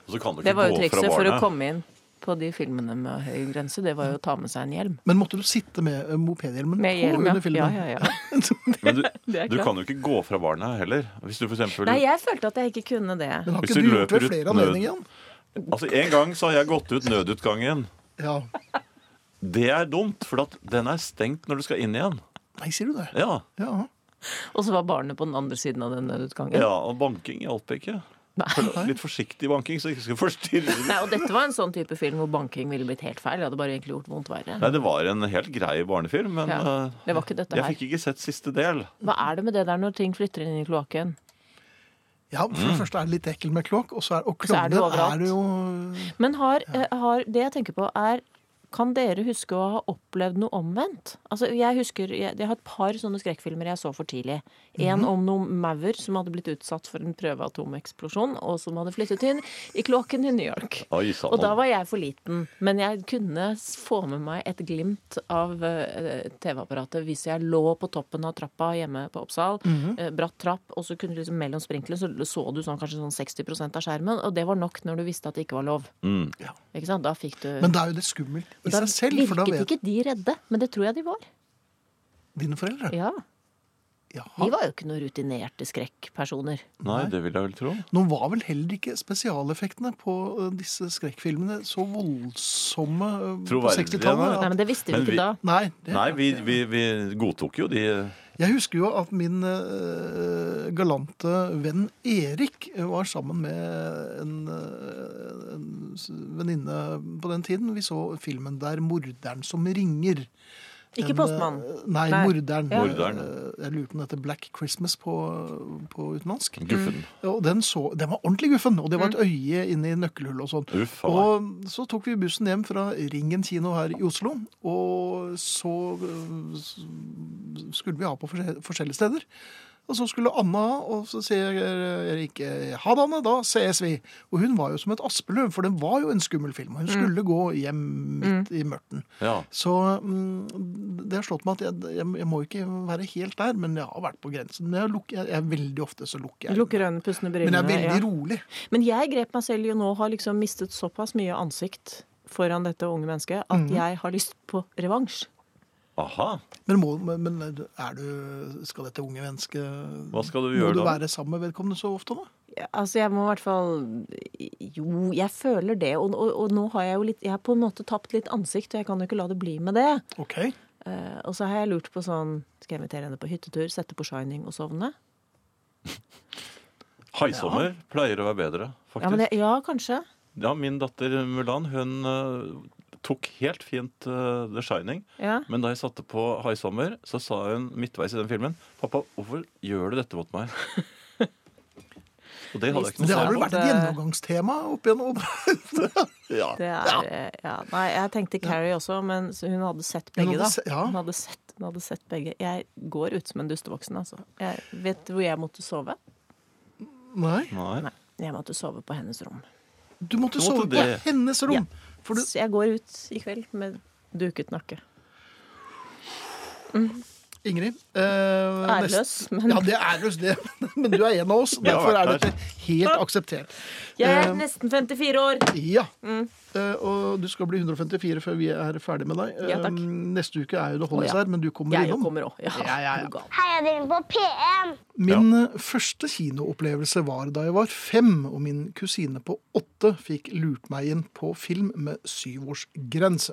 Speaker 2: Og så kan du
Speaker 5: Det
Speaker 2: ikke
Speaker 5: var
Speaker 2: gå
Speaker 5: jo
Speaker 2: fra
Speaker 5: trikset for å
Speaker 2: barnet.
Speaker 5: komme inn. på de filmene med høy grense, det var jo å ta med seg en hjelm.
Speaker 1: Men måtte du sitte med eh, mopedhjelmen
Speaker 5: Med
Speaker 1: på
Speaker 5: hjelm, ja.
Speaker 1: under filmen?
Speaker 5: Ja, ja, ja.
Speaker 2: Men du,
Speaker 5: Det er
Speaker 2: du
Speaker 5: klart.
Speaker 2: kan jo ikke gå fra barna heller. Hvis du for eksempel
Speaker 5: Nei, jeg følte at jeg ikke kunne det.
Speaker 1: Men har
Speaker 2: Hvis
Speaker 1: ikke
Speaker 2: du
Speaker 1: du gjort det
Speaker 2: løper
Speaker 1: ved
Speaker 2: ut
Speaker 1: flere
Speaker 2: nød-
Speaker 1: anledninger? Jan?
Speaker 2: Altså, En gang så har jeg gått ut nødutgangen.
Speaker 1: Ja.
Speaker 2: Det er dumt, for at den er stengt når du skal inn igjen.
Speaker 1: Nei, sier du det?
Speaker 2: Ja,
Speaker 1: Ja.
Speaker 5: Og så var barnet på den andre siden av den nødutgangen.
Speaker 2: ja Og banking hjalp ikke. For Litt forsiktig banking, så jeg ikke skal forstyrre.
Speaker 5: Nei, og dette var en sånn type film hvor banking ville blitt helt feil. Det hadde bare egentlig gjort vondt verre.
Speaker 2: Nei, Det var en helt grei barnefilm, men
Speaker 5: Ja,
Speaker 2: eh,
Speaker 5: det var ikke dette
Speaker 2: jeg
Speaker 5: her.
Speaker 2: fikk ikke sett siste del.
Speaker 5: Hva er det med det der når ting flytter inn i kloakken?
Speaker 1: ja, for
Speaker 2: Mm.
Speaker 1: det første er det litt ekkelt med kloakk, og så er, og
Speaker 5: så er det
Speaker 1: klovner
Speaker 5: overalt.
Speaker 1: er det jo
Speaker 5: Men har, eh, har Det jeg tenker på, er kan dere huske å ha opplevd noe omvendt? Altså, Jeg husker, jeg, jeg har et par sånne skrekkfilmer jeg så for tidlig. En
Speaker 2: Mhm.
Speaker 5: om noen maur som hadde blitt utsatt for en prøveatomeksplosjon, og som hadde flyttet inn i kloakken i New York.
Speaker 2: Oi, sann.
Speaker 5: Og da var jeg for liten. Men jeg kunne s- få med meg et glimt av eh, TV-apparatet hvis jeg lå på toppen av trappa hjemme på Oppsal.
Speaker 2: Mhm.
Speaker 5: eh, bratt trapp, og så kunne du liksom mellom sprinklene så så du sånn, kanskje sånn 60 av skjermen. Og det var nok når du visste at det ikke var lov. Ikke sant? Da fikk du
Speaker 1: Men det er jo litt skummelt i
Speaker 5: da
Speaker 1: seg selv, for da vet
Speaker 5: virket ikke de redde, men det tror jeg de var.
Speaker 1: dine foreldre
Speaker 5: Ja, De
Speaker 1: Jaha.
Speaker 5: var jo ikke noen rutinerte skrekkpersoner.
Speaker 2: Nei, det vil jeg vel tro.
Speaker 1: Nå var vel heller ikke spesialeffektene på eh, disse skrekkfilmene så voldsomme eh, på
Speaker 2: Troverdige,
Speaker 1: 60-tallet.
Speaker 2: Ja.
Speaker 5: Nei,
Speaker 1: at-
Speaker 5: men det visste vi
Speaker 2: Men vi-
Speaker 5: ikke da.
Speaker 1: Nei, det,
Speaker 2: Nei, vi, vi, vi godtok jo de
Speaker 1: Jeg husker jo at min eh, galante venn Erik var sammen med en, eh, en s- venninne på den tiden. Vi så filmen der 'Morderen som ringer'.
Speaker 5: Ikke
Speaker 1: En,
Speaker 5: Postmannen.
Speaker 1: eh, Nei,
Speaker 5: Nei.
Speaker 1: 'Morderen'.
Speaker 2: Ja. Morderen.
Speaker 1: Eh, Jeg lurer på om den heter 'Black Christmas' på, på utenlandsk. Mm.
Speaker 2: guffen.
Speaker 1: Og den, så, den var ordentlig guffen, og det var et øye inne i nøkkelhullet og sånn.
Speaker 2: Uff a meg.
Speaker 1: Og så tok vi bussen hjem fra Ringen kino her i Oslo, og så øh, s- skulle vi ha på forskjell- forskjellige steder. Og så skulle Anna ha, og så sier Erik eh, ha det, Anne, da ses vi. Og hun var jo som et aspeløv, for den var jo en skummel film. og Hun
Speaker 5: Mm.
Speaker 1: skulle gå hjem midt i mørten.
Speaker 2: Ja.
Speaker 1: Så mm, det har slått meg at jeg, jeg, jeg må ikke være helt der, men jeg har vært på grensen. Men jeg, lukker, jeg, jeg veldig ofte så lukker jeg.
Speaker 5: Lukker øynene, pustende brillene.
Speaker 1: Men jeg er veldig
Speaker 5: ja.
Speaker 1: rolig.
Speaker 5: Men jeg grep meg selv i å nå ha liksom mistet såpass mye ansikt foran dette unge mennesket at
Speaker 1: Mhm.
Speaker 5: jeg har lyst på revansj.
Speaker 2: Aha.
Speaker 1: Men, må, men men er du, skal dette unge mennesket
Speaker 2: Hva skal du
Speaker 1: Må
Speaker 2: gjøre
Speaker 1: du
Speaker 2: da?
Speaker 1: være sammen med vedkommende så ofte, da?
Speaker 5: Ja, Altså, jeg må i hvert fall Jo, jeg føler det. Og, og, og nå har jeg jo litt Jeg har på en måte tapt litt ansikt, og jeg kan jo ikke la det bli med det.
Speaker 1: Ok.
Speaker 5: Eh, og så har jeg lurt på sånn Skal jeg invitere henne på hyttetur, sette på Shining og sovne?
Speaker 2: Haisommer pleier å være bedre, faktisk.
Speaker 5: Ja, men det, ja kanskje.
Speaker 2: Ja, min datter Mulan, hun eh, tok helt fint eh, The Shining.
Speaker 5: Ja.
Speaker 2: Men da jeg satte på High Summer, så sa hun midtveis i den filmen Pappa, hvorfor gjør du dette mot meg? Og det eh, hadde jeg ikke
Speaker 1: Det
Speaker 2: noe
Speaker 1: har
Speaker 2: svar
Speaker 1: vel
Speaker 2: på.
Speaker 1: vært et gjennomgangstema opp igjennom.
Speaker 2: Ja.
Speaker 5: Det er, eh, ja. Nei, jeg tenkte Carrie også, men så hun hadde sett
Speaker 1: Hun
Speaker 5: begge,
Speaker 1: hadde
Speaker 5: da.
Speaker 1: se- ja.
Speaker 5: Hun, hadde sett, hun hadde sett begge. Jeg går ut som en dustevoksen, altså. Jeg vet du hvor jeg måtte sove?
Speaker 1: Nei.
Speaker 2: Nei.
Speaker 5: Nei, jeg måtte sove på hennes rom.
Speaker 1: Du måtte
Speaker 2: Du måtte
Speaker 1: sove på
Speaker 2: det.
Speaker 1: hennes rom. For du,
Speaker 5: Så jeg går ut i kveld med duket nakke.
Speaker 1: Ingrid eh,
Speaker 5: Æreløs,
Speaker 1: nest-
Speaker 5: men-
Speaker 1: Ja, det er æreløs, det. Men du er en av oss.
Speaker 2: Jeg har
Speaker 1: Derfor er
Speaker 2: vært
Speaker 1: dette helt akseptert.
Speaker 5: Jeg er
Speaker 1: Eh,
Speaker 5: nesten 54 år!
Speaker 1: Ja.
Speaker 5: Mm.
Speaker 1: Eh, og du skal bli 154 før vi er ferdig med deg.
Speaker 5: Ja, takk.
Speaker 1: Eh, Neste uke er jo det holdes
Speaker 5: Å, ja.
Speaker 1: her, men du kommer
Speaker 5: Jeg
Speaker 1: innom.
Speaker 5: kommer òg. Ja,
Speaker 1: Ja, ja, ja.
Speaker 5: er du gal.
Speaker 8: Heia dere på P1!
Speaker 1: Min eh, første kinoopplevelse var da jeg var fem, og min kusine på åtte fikk lurt meg inn på film med syvårsgrense.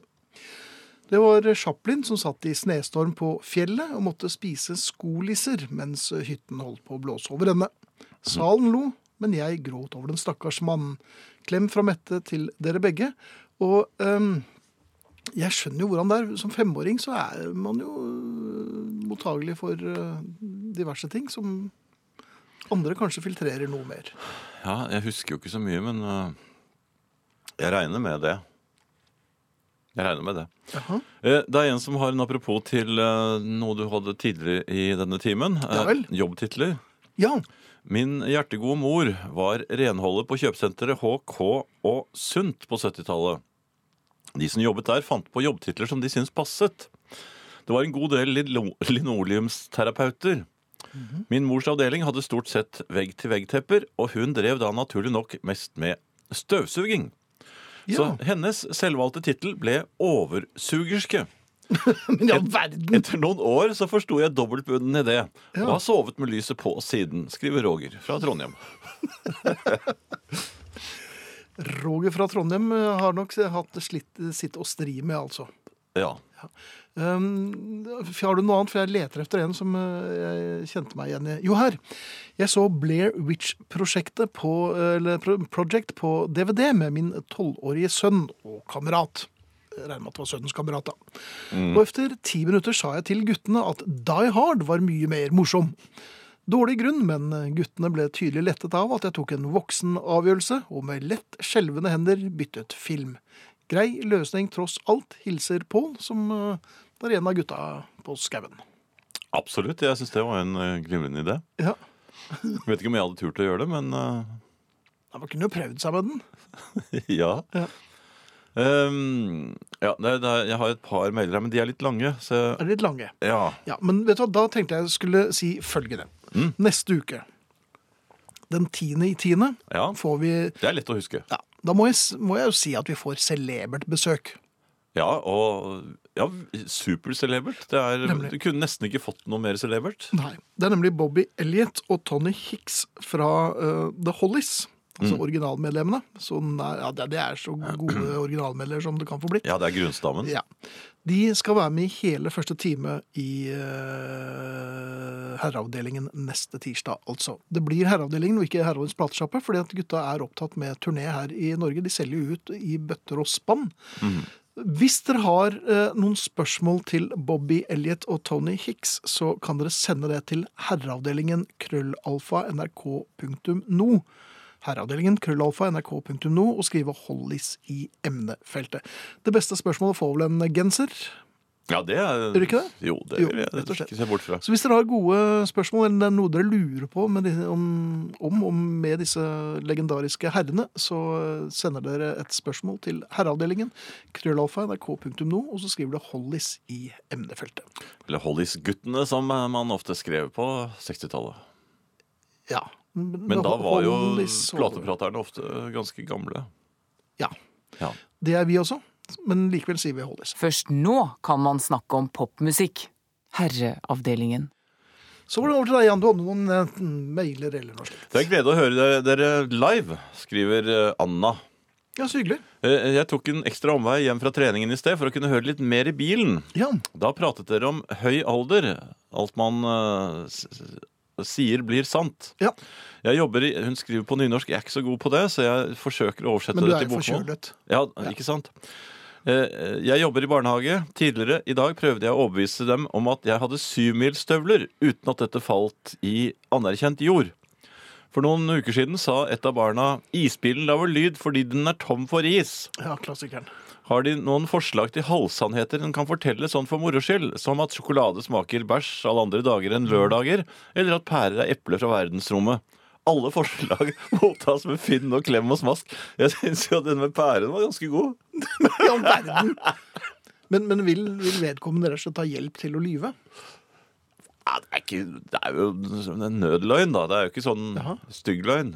Speaker 1: Det var Chaplin som satt i snestorm på fjellet og måtte spise skolisser mens hytten holdt på å blåse over ende. Salen lo, men jeg gråt over den stakkars mannen. Klem fra Mette til dere begge. Og ehm, jeg skjønner jo hvordan det er. Som femåring så er man jo øh, mottagelig for øh, diverse ting som andre kanskje filtrerer noe mer.
Speaker 2: Ja, jeg husker jo ikke så mye, men eh, jeg regner med det. Jeg regner med det.
Speaker 1: Jaha.
Speaker 2: Eh, Det er en som har en apropos til eh, noe du hadde tidligere i denne timen. eh,
Speaker 1: Ja vel.
Speaker 2: Jobbtitler.
Speaker 1: Ja,
Speaker 2: Min hjertegode mor var renholder på kjøpesenteret HK og Sunt på 70-tallet. De som jobbet der, fant på jobbtitler som de syntes passet. Det var en god del lino- linoleumsterapeuter. Min mors avdeling hadde stort sett vegg-til-vegg-tepper, og hun drev da naturlig nok mest med støvsuging. Så hennes selvvalgte tittel ble oversugerske.
Speaker 1: Men i all verden!
Speaker 2: Etter noen år så forsto jeg dobbeltbunnen i det, og har sovet med lyset på siden, skriver Roger fra Trondheim.
Speaker 1: Roger fra Trondheim eh, har nok hatt slitt, sitt å stri med, altså.
Speaker 2: Ja.
Speaker 1: Um, har du noe annet? For jeg leter etter en som eh, jeg kjente meg igjen i. Jo, her. Jeg så Blair Witch-prosjektet på, eh, eller Pro- Project på DVD med min tolvårige sønn og kamerat. Jeg Regner med at det var sønnens kamerat, da. Og etter ti minutter sa jeg til guttene at Die Hard var mye mer morsom. Dårlig grunn, men guttene ble tydelig lettet av at jeg tok en voksen avgjørelse, og med lett skjelvende hender byttet film. Grei løsning tross alt, hilser Pål, som eh, var en av gutta på skauen.
Speaker 2: Absolutt. Jeg syns det var en eh, glimrende idé.
Speaker 1: Ja.
Speaker 2: Jeg vet ikke om jeg hadde turt å gjøre det, men eh,
Speaker 1: Nei, Man kunne jo prøvd seg med den.
Speaker 2: ja.
Speaker 1: Ja.
Speaker 2: Ehm, ja det, det, jeg har et par mailer her, men de er litt lange, så
Speaker 1: Er litt lange.
Speaker 2: ja.
Speaker 1: Ja, Men vet du hva, da tenkte jeg skulle si følgende. Neste uke, den tiende i tiende,
Speaker 2: ja.
Speaker 1: får vi
Speaker 2: Det er lett å huske.
Speaker 1: ja, Da må jeg, s- må jeg jo si at vi får celebert besøk.
Speaker 2: Ja, og ja, supercelebert. Det er,
Speaker 1: Nemlig.
Speaker 2: du kunne nesten ikke fått noe mer celebert.
Speaker 1: Nei. Det er nemlig Bobby Elliot og Tony Hicks fra eh, The Hollies. Altså originalmedlemmene. Så nær, ja, det det er så gode originalmedlemmer som det kan få blitt.
Speaker 2: Ja, det er grunnstammen.
Speaker 1: Ja. De skal være med i hele første time i eh, Herreavdelingen neste tirsdag, altså. Det blir Herreavdelingen og ikke Herreavdelingens platesjappe, fordi at gutta er opptatt med turné her i Norge. De selger jo ut i bøtter og spann. Hvis dere har eh, noen spørsmål til Bobby Elliot og Tony Hicks, så kan dere sende det til herreavdelingen krøllalfa nrk.no. Herreavdelingen krøllalfa nrk.no og skrive 'Hollis' i emnefeltet. Det beste spørsmålet får vel en genser.
Speaker 2: Ja, det er
Speaker 1: Gjør det ikke det?
Speaker 2: Jo, det
Speaker 1: Jo,
Speaker 2: vil jeg
Speaker 1: rett og slett.
Speaker 2: ikke se bort fra.
Speaker 1: Så hvis dere har gode spørsmål, eller det er noe dere lurer på med disse, om, om, om med disse legendariske herrene, så eh, sender dere et spørsmål til herreavdelingen krøllalfa nrk.no, og så skriver dere 'Hollis' i emnefeltet.
Speaker 2: Eller Hollis-guttene, som man ofte skrev på 60-tallet.
Speaker 1: Ja.
Speaker 2: Men da var jo
Speaker 1: Hollis og-
Speaker 2: platepraterne ofte ganske gamle.
Speaker 1: Ja.
Speaker 2: Ja.
Speaker 1: Det er vi også, men likevel sier vi 'Hollis'.
Speaker 7: Først nå kan man snakke om popmusikk. Herreavdelingen.
Speaker 1: Så var det over til deg, Jan. Du hadde noen eh, mailer eller noe slikt.
Speaker 2: Det er en glede å høre dere, dere live, skriver eh, Anna.
Speaker 1: Ja, så hyggelig.
Speaker 2: Eh, Jeg tok en ekstra omvei hjem fra treningen i sted for å kunne høre litt mer i bilen.
Speaker 1: Ja.
Speaker 2: Da pratet dere om høy alder. Alt man eh, s- s- sier blir sant.
Speaker 1: ja.
Speaker 2: Jeg jobber i, hun skriver på nynorsk, jeg er ikke så god på det, så jeg forsøker å oversette
Speaker 1: Men du
Speaker 2: det
Speaker 1: er
Speaker 2: til
Speaker 1: jo
Speaker 2: bokmål.
Speaker 1: forkjølet.
Speaker 2: Ja, ikke sant? Eh, Jeg jobber i barnehage. Tidligere i dag prøvde jeg å overbevise dem om at jeg hadde syvmilsstøvler, uten at dette falt i anerkjent jord. For noen uker siden sa et av barna 'isbilen lager lyd fordi den er tom for is'.
Speaker 1: Ja, klassikeren.
Speaker 2: Har de noen forslag til halvsannheter en kan fortelle sånn for moro skyld, som at sjokolade smaker bæsj alle andre dager enn lørdager, eller at pærer er epler fra verdensrommet? Alle forslag mottas med finn og klem og smask. Jeg syns jo at den med pæren var ganske god.
Speaker 1: I all verden. Men, men vil, vil vedkommende rett og slett ta hjelp til å lyve?
Speaker 2: Ja, det, er ikke, det er jo en nødløgn, da. Det er jo ikke sånn stygg løgn.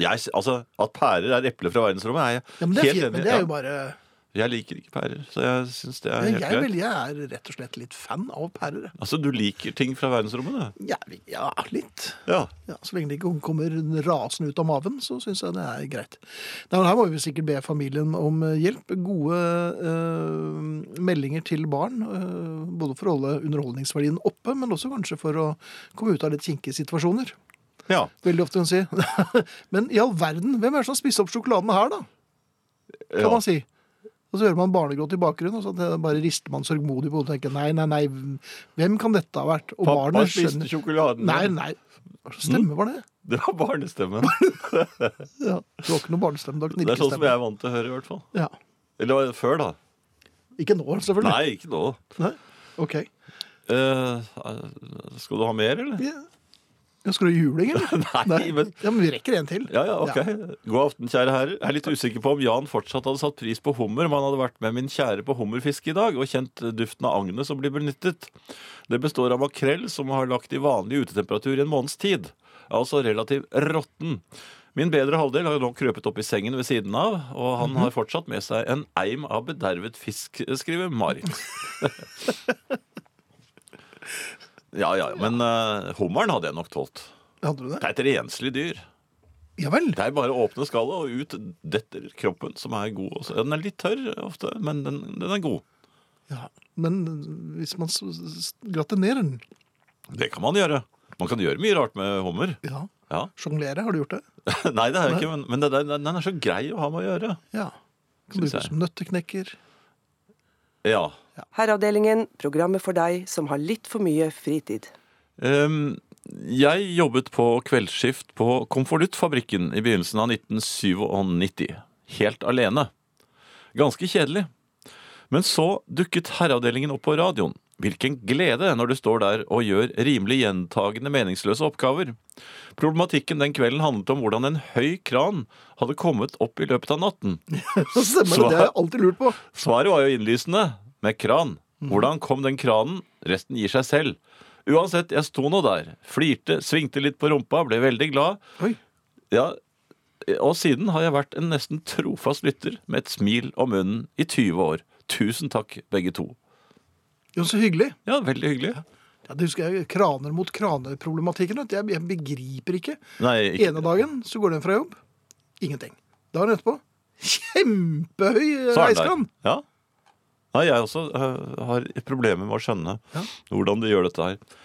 Speaker 2: Jeg, altså, At pærer er epler fra verdensrommet, er jeg
Speaker 1: Ja, men det er
Speaker 2: helt
Speaker 1: fint,
Speaker 2: enig
Speaker 1: men
Speaker 2: i.
Speaker 1: det er
Speaker 2: Ja.
Speaker 1: jo bare
Speaker 2: Jeg liker ikke pærer, så jeg syns det er
Speaker 1: jeg,
Speaker 2: helt greit.
Speaker 1: vel, jeg er rett og slett litt fan av pærer.
Speaker 2: Altså, Du liker ting fra verdensrommet, du?
Speaker 1: Ja, vi- ja, litt.
Speaker 2: Ja.
Speaker 1: Ja, så lenge det ikke kommer rasende ut av maven, så syns jeg det er greit. Nei, men her må vi sikkert be familien om eh, hjelp. Gode eh, meldinger til barn. eh, både for å holde underholdningsverdien oppe, men også kanskje for å komme ut av litt kinkige situasjoner.
Speaker 2: ja.
Speaker 1: Veldig ofte kan man si. men i all verden, hvem er det som har spist opp sjokoladen her, da? Kan
Speaker 2: ja.
Speaker 1: man si. Og så hører man barnegråt i bakgrunnen, og så det bare rister man sørgmodig på hodet og tenker nei, nei, nei, hvem kan dette ha vært? Og
Speaker 2: Pappa
Speaker 1: barnet
Speaker 2: spiste
Speaker 1: skjønner
Speaker 2: sjokoladen.
Speaker 1: Nei, nei. Hva slags stemme var det?
Speaker 2: Det var barnestemmen.
Speaker 1: Ja. Det var ikke noe barnestemme, det var
Speaker 2: Det er sånn som
Speaker 1: knirkestemme.
Speaker 2: jeg er vant til å høre, i hvert fall.
Speaker 1: Ja.
Speaker 2: Eller var det før, da.
Speaker 1: Ikke nå, selvfølgelig.
Speaker 2: Nei, ikke nå.
Speaker 1: Nei. Ok.
Speaker 2: Eh, skal du ha mer, eller?
Speaker 1: Ja. Ja, Skal du ha juling, eller?
Speaker 2: Nei, men
Speaker 1: Ja, men vi rekker en til.
Speaker 2: Ja, ja, ok. God aften, kjære herrer. Jeg er litt usikker på om Jan fortsatt hadde satt pris på hummer om han hadde vært med min kjære på hummerfiske i dag og kjent duften av agnet som blir benyttet. Det består av makrell som har lagt i vanlig utetemperatur i en måneds tid. Er Altså relativt råtten. Min bedre halvdel har jo nå krøpet opp i sengen ved siden av, og han har fortsatt med seg en eim av bedervet fisk, skriver Marit. ja, ja, men eh, hummeren hadde jeg nok tålt.
Speaker 1: Hadde du
Speaker 2: Det
Speaker 1: det?
Speaker 2: er et renslig dyr.
Speaker 1: Ja vel.
Speaker 2: Det er bare å åpne skallet, og ut detter kroppen, som er god. også. Den er litt tørr ofte, men den, den er god.
Speaker 1: Ja. Men hvis man s- s- gratinerer den
Speaker 2: Det kan man gjøre. Man kan gjøre mye rart med hummer.
Speaker 1: Ja.
Speaker 2: Ja.
Speaker 1: Sjonglere, har du gjort det?
Speaker 2: Nei, det har jeg ikke, men, men det, det, den er så grei å ha med å gjøre.
Speaker 1: Ja. Kan
Speaker 2: Synes
Speaker 1: brukes
Speaker 2: jeg.
Speaker 1: som nøtteknekker.
Speaker 2: Ja.
Speaker 3: Herreavdelingen, programmet for deg som har litt for mye fritid.
Speaker 2: Ehm, jeg jobbet på kveldsskift på Konvoluttfabrikken i begynnelsen av 1997. Helt alene. Ganske kjedelig. Men så dukket herreavdelingen opp på radioen. Hvilken glede når du står der og gjør rimelig gjentagende meningsløse oppgaver. Problematikken den kvelden handlet om hvordan en høy kran hadde kommet opp i løpet av natten.
Speaker 1: Stemmer det. Det har jeg alltid lurt på.
Speaker 2: Svaret var jo innlysende. Med kran. Hvordan kom den kranen? Resten gir seg selv. Uansett, jeg sto nå der. Flirte, svingte litt på rumpa, ble veldig glad.
Speaker 1: Oi.
Speaker 2: Ja, og siden har jeg vært en nesten trofast lytter med et smil om munnen i 20 år. Tusen takk, begge to.
Speaker 1: Jo, så hyggelig.
Speaker 2: Ja, veldig hyggelig.
Speaker 1: Ja, det husker jeg kraner mot kraner-problematikken. vet du. Jeg, jeg begriper ikke.
Speaker 2: Nei, ikke.
Speaker 1: Ene dagen så går den fra jobb. Ingenting. Dagen etterpå kjempehøy eh,
Speaker 2: Så er den der.
Speaker 1: reiskran!
Speaker 2: Ja. Nei, jeg også øh, har problemer med å skjønne
Speaker 1: Ja.
Speaker 2: hvordan de gjør dette her.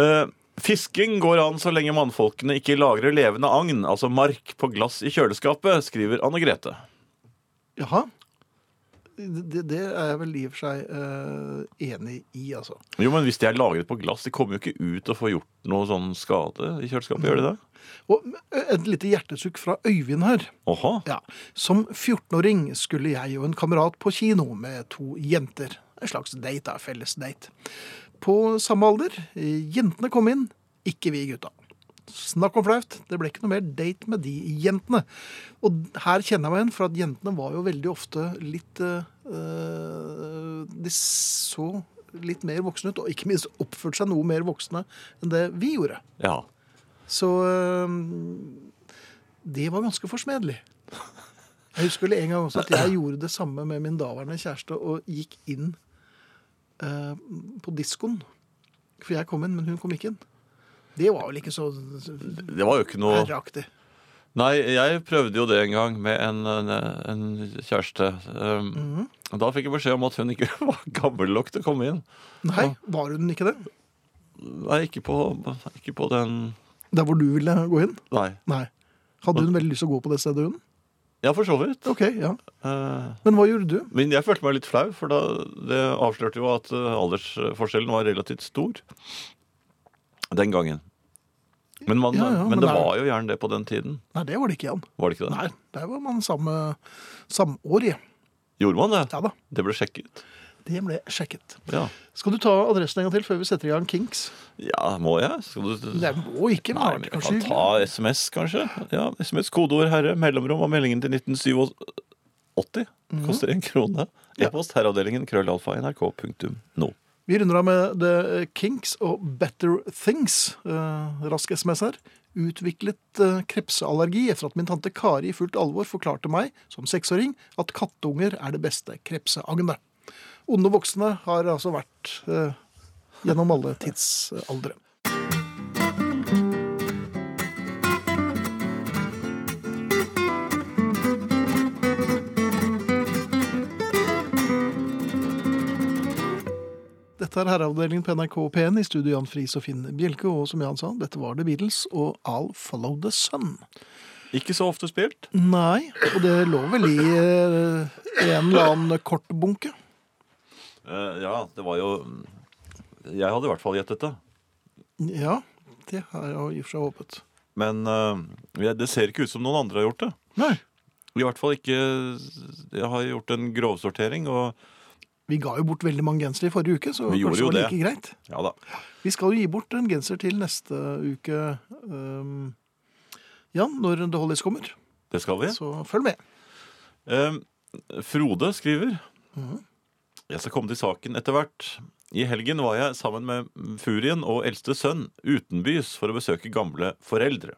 Speaker 2: Eh, fisking går an så lenge mannfolkene ikke lagrer levende agn, altså mark, på glass i kjøleskapet, skriver Anne Grete.
Speaker 1: Jaha. Det, det er jeg vel i og for seg eh, enig i, altså.
Speaker 2: Jo, men hvis de er lagret på glass, de kommer jo ikke ut og får gjort noe sånn skade i kjøleskapet, gjør de det?
Speaker 1: Og eh, et lite hjertesukk fra Øyvind her.
Speaker 2: Åha.
Speaker 1: Ja. Som 14-åring skulle jeg og en kamerat på kino med to jenter. En slags date, da. Felles date. På samme alder. Jentene kom inn, ikke vi gutta. Snakk om flaut. Det ble ikke noe mer date med de jentene. Og her kjenner jeg meg igjen, for at jentene var jo veldig ofte litt eh, eh, De så litt mer voksne ut, og ikke minst oppførte seg noe mer voksne enn det vi gjorde.
Speaker 2: Ja.
Speaker 1: Så øhm, det var ganske forsmedelig. Jeg husker vel en gang også at jeg gjorde det samme med min daværende kjæreste og gikk inn øh, på diskoen. For jeg kom inn, men hun kom ikke inn. Det var vel ikke så
Speaker 2: Det var jo ikke noe
Speaker 1: herreaktig.
Speaker 2: Nei, jeg prøvde jo det en gang med en, en, en kjæreste. Um,
Speaker 1: Mhm.
Speaker 2: Da fikk jeg beskjed om at hun ikke var gammel nok til å komme inn.
Speaker 1: Nei, var hun ikke det?
Speaker 2: Nei, ikke på, ikke på den
Speaker 1: Der hvor du ville gå inn?
Speaker 2: Nei.
Speaker 1: Nei. Hadde hun veldig lyst til å gå på det stedet, hun?
Speaker 2: Ja, for så vidt.
Speaker 1: Ok, ja.
Speaker 2: Eh,
Speaker 1: Men hva gjorde du?
Speaker 2: Men jeg følte meg litt flau, for da, det avslørte jo at eh, aldersforskjellen var relativt stor den gangen. Men, man,
Speaker 1: Ja, ja,
Speaker 2: men,
Speaker 1: men
Speaker 2: det
Speaker 1: det er-
Speaker 2: var jo gjerne det på den tiden.
Speaker 1: Nei, det var det ikke, Jan.
Speaker 2: Var det ikke det?
Speaker 1: Nei, der var man samme samårige.
Speaker 2: Gjorde man det?
Speaker 1: Ja da,
Speaker 2: Det ble sjekket.
Speaker 1: det ble sjekket.
Speaker 2: Ja.
Speaker 1: Skal du ta adressen en gang til før vi setter i gang Kinks?
Speaker 2: ja, må jeg? Skal du
Speaker 1: Det må ikke
Speaker 2: Nei,
Speaker 1: være
Speaker 2: men jeg
Speaker 1: kanskje
Speaker 2: kan ta
Speaker 1: hyggelig.
Speaker 2: SMS, kanskje. Ja, SMS, kodeord herre, mellomrom og meldingen til 1987.
Speaker 1: Mhm.
Speaker 2: Koster en krone. E-post herreavdelingen krøllalfa nrk.no.
Speaker 1: Vi runder av med The Kinks og Better Things. Eh, rask SMS her. Utviklet eh, krepseallergi etter at min tante Kari i fullt alvor forklarte meg som seksåring at kattunger er det beste krepseagnet. Onde voksne har altså vært eh, gjennom alle tidsaldre. Dette er herreavdelingen på NRK P1 i studio Jan Friis og Finn Bjelke. Og som Jan sa, dette var The Beatles og I'll Follow The Sun.
Speaker 2: Ikke så ofte spilt.
Speaker 1: Nei, og det lå vel i eh, en eller annen kortbunke.
Speaker 2: Eh, ja, det var jo Jeg hadde i hvert fall gjettet det.
Speaker 1: Ja, det har jeg i og for seg håpet.
Speaker 2: Men eh, jeg- det ser ikke ut som noen andre har gjort det.
Speaker 1: Nei.
Speaker 2: I hvert fall ikke Jeg har gjort en grovsortering, og
Speaker 1: Vi ga jo bort veldig mange gensere i forrige uke, så
Speaker 2: Vi gjorde
Speaker 1: kanskje det var
Speaker 2: jo det.
Speaker 1: like greit.
Speaker 2: ja da.
Speaker 1: Vi skal jo gi bort en genser til neste uke, ehm, Jan, når The Hollies kommer.
Speaker 2: Det skal vi.
Speaker 1: Så følg med.
Speaker 2: Eh, Frode skriver Jeg skal komme til saken etter hvert. I helgen var jeg sammen med Furien og eldste sønn utenbys for å besøke gamle foreldre.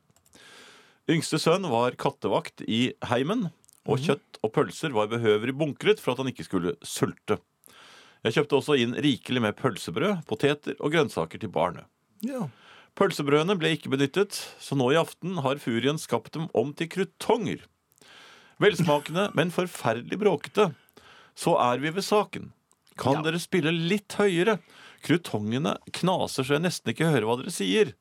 Speaker 2: Yngste sønn var kattevakt i heimen, og kjøtt og pølser var behøvrig bunkret for at han ikke skulle sulte. Jeg kjøpte også inn rikelig med pølsebrød, poteter og grønnsaker til barnet.
Speaker 1: Ja.
Speaker 2: Pølsebrødene ble ikke benyttet, så nå i aften har furien skapt dem om til krutonger. Velsmakende, men forferdelig bråkete. Så er vi ved saken. Kan dere spille litt høyere? Krutongene knaser så jeg nesten ikke hører hva dere sier.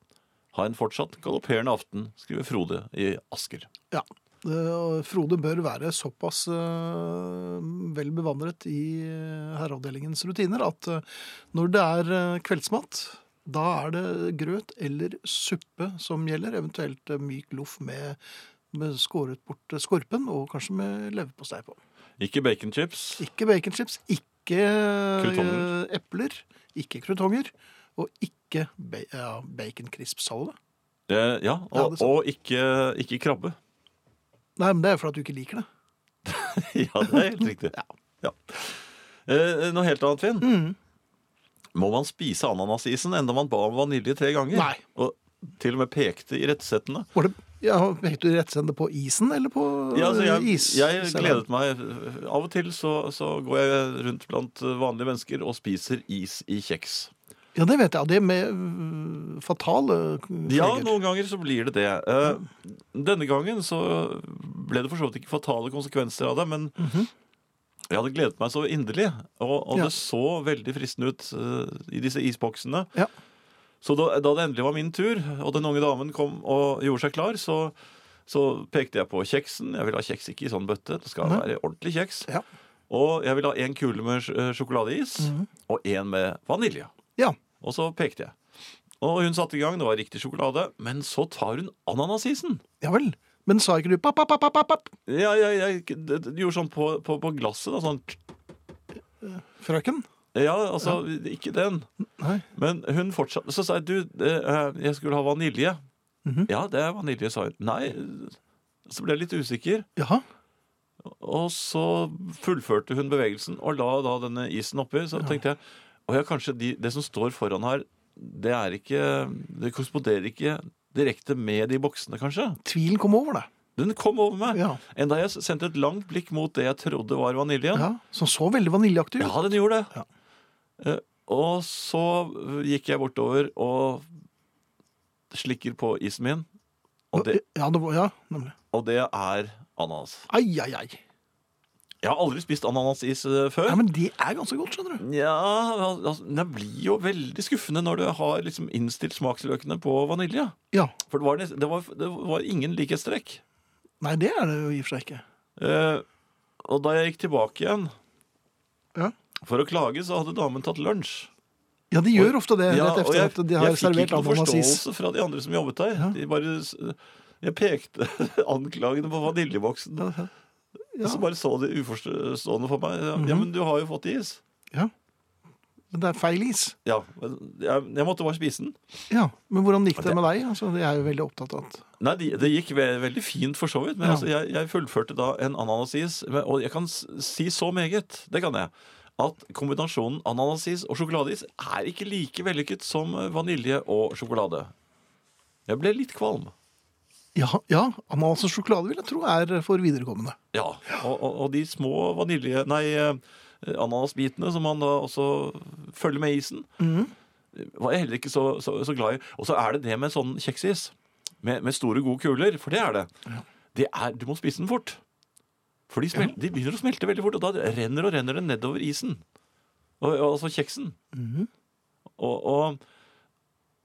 Speaker 2: Ha en fortsatt galopperende aften, skriver Frode i Asker.
Speaker 1: ja. Det- og Frode bør være såpass eh, vel bevandret i eh, herreavdelingens rutiner at eh, når det er eh, kveldsmat, da er det grøt eller suppe som gjelder, eventuelt eh, myk loff med, med skåret bort eh, skorpen og kanskje med leverpostei på.
Speaker 2: Ikke baconchips.
Speaker 1: Ikke baconchips, ikke eh,
Speaker 2: Krutonger.
Speaker 1: epler, ikke krutonger, og ikke ba ja, baconcrisp-salve.
Speaker 2: Eh,
Speaker 1: Ja,
Speaker 2: ja, og,
Speaker 1: det er sant.
Speaker 2: og ikke, ikke krabbe.
Speaker 1: Nei, men det er fordi at du ikke liker det.
Speaker 2: ja, det er helt riktig. Ja. Eh, noe helt annet, Finn.
Speaker 1: Mm.
Speaker 2: Må man spise ananasisen enda man ba om vanilje tre ganger?
Speaker 1: Nei.
Speaker 2: Og til og med pekte i rettsettene.
Speaker 1: Var det ja, Het du rettsende på isen eller på
Speaker 2: Ja, altså, jeg,
Speaker 1: is?
Speaker 2: jeg gledet meg. Av og til så, så går jeg rundt blant vanlige mennesker og spiser is i kjeks.
Speaker 1: Ja, det vet jeg. Det med øh, fatale følger.
Speaker 2: Ja, noen ganger så blir det det. Eh, Denne gangen så ble det for så vidt ikke fatale konsekvenser av det, men jeg hadde gledet meg så inderlig, og, og
Speaker 1: Mhm. Ja.
Speaker 2: det så veldig fristende ut eh, i disse isboksene.
Speaker 1: Ja.
Speaker 2: Så da, da det endelig var min tur, og den unge damen kom og gjorde seg klar, så, så pekte jeg på kjeksen. Jeg vil ha kjeks ikke i sånn bøtte, det skal være ordentlig kjeks.
Speaker 1: Ja.
Speaker 2: Og jeg vil ha én kule med sj- eh, sjokoladeis,
Speaker 1: Mhm.
Speaker 2: og én med vanilje.
Speaker 1: Ja.
Speaker 2: Og så pekte jeg. Og hun satte i gang, det var riktig sjokolade, men så tar hun ananasisen.
Speaker 1: ja vel. Men sa ikke du papp, papp, papp, papp, papp,
Speaker 2: Ja, jeg, jeg, d- d- gjorde sånn på, på, på glasset, da, sånn
Speaker 1: frøken?
Speaker 2: Ja, altså, ikke den.
Speaker 1: Nei.
Speaker 2: Men hun fortsatte. Så sa jeg, du, eh, jeg skulle ha vanilje. Ja, det er vanilje, sa hun. Nei, så ble jeg litt usikker.
Speaker 1: Jaha.
Speaker 2: Og så fullførte hun bevegelsen og la da denne isen oppi. Så tenkte jeg «Å ja, kanskje de, det som står foran her, det er ikke Det korresponderer ikke direkte med de boksene, kanskje.
Speaker 1: Tvilen kom over deg.
Speaker 2: Den kom over meg.
Speaker 1: Ja.
Speaker 2: Enda jeg sendte et langt blikk mot det jeg trodde var vaniljen.
Speaker 1: Ja, som så veldig vaniljeaktig ut.
Speaker 2: Ja, den gjorde det.
Speaker 1: Ja.
Speaker 2: Eh, Og så eh, gikk jeg bortover og slikker på isen min, og det,
Speaker 1: Ja, det var, ja, nemlig.
Speaker 2: og det er ananas.
Speaker 1: Ai, ai, ai.
Speaker 2: Jeg har aldri spist ananasis eh, før.
Speaker 1: Ja, men det er ganske godt, skjønner du.
Speaker 2: Ja, al- altså, det blir jo veldig skuffende når du har liksom innstilt smaksløkene på vanilje.
Speaker 1: Ja.
Speaker 2: For det var, nes- det var, det var ingen likhetstrekk.
Speaker 1: Nei, det er det jo i og for seg ikke.
Speaker 2: Eh, og da jeg gikk tilbake igjen
Speaker 1: Ja.
Speaker 2: for å klage, så hadde damen tatt lunsj.
Speaker 1: Ja, de gjør ofte det. Eh,
Speaker 2: Ja,
Speaker 1: rett
Speaker 2: og
Speaker 1: efter
Speaker 2: jeg,
Speaker 1: at de har
Speaker 2: jeg fikk
Speaker 1: servert
Speaker 2: ikke noe
Speaker 1: ananasis.
Speaker 2: forståelse fra de andre som jobbet der. De bare, s- jeg pekte anklagene på vaniljeboksen, og så bare så de uforstående for meg. Ja,
Speaker 1: Mhm.
Speaker 2: men du har jo fått is.
Speaker 1: Ja. Men det er feil is.
Speaker 2: Ja, men jeg, jeg måtte bare spise den.
Speaker 1: Ja, Men hvordan gikk det med deg? Altså, jeg er jo veldig opptatt av at
Speaker 2: Nei, de- det gikk ve veldig fint for så vidt, men
Speaker 1: Ja.
Speaker 2: altså, jeg, jeg fullførte da en ananasis, men- og jeg kan s- si så meget, det kan jeg, at kombinasjonen ananasis og sjokoladeis er ikke like vellykket som eh, vanilje og sjokolade. Jeg ble litt kvalm.
Speaker 1: Ja, ja ananas og sjokolade vil jeg tro er for viderekommende.
Speaker 2: Ja, og, og, og de små vanilje... Nei, eh, ananasbitene som man da også følger med isen, var jeg heller ikke så, så, så glad i. Og så er det det med sånn kjeksis, med, med store, gode kuler, for det er det. det er, du må spise den fort. For de, smel, de begynner å smelte veldig fort, og da renner og renner det nedover isen. Og, og, altså kjeksen.
Speaker 1: Mhm.
Speaker 2: Og... og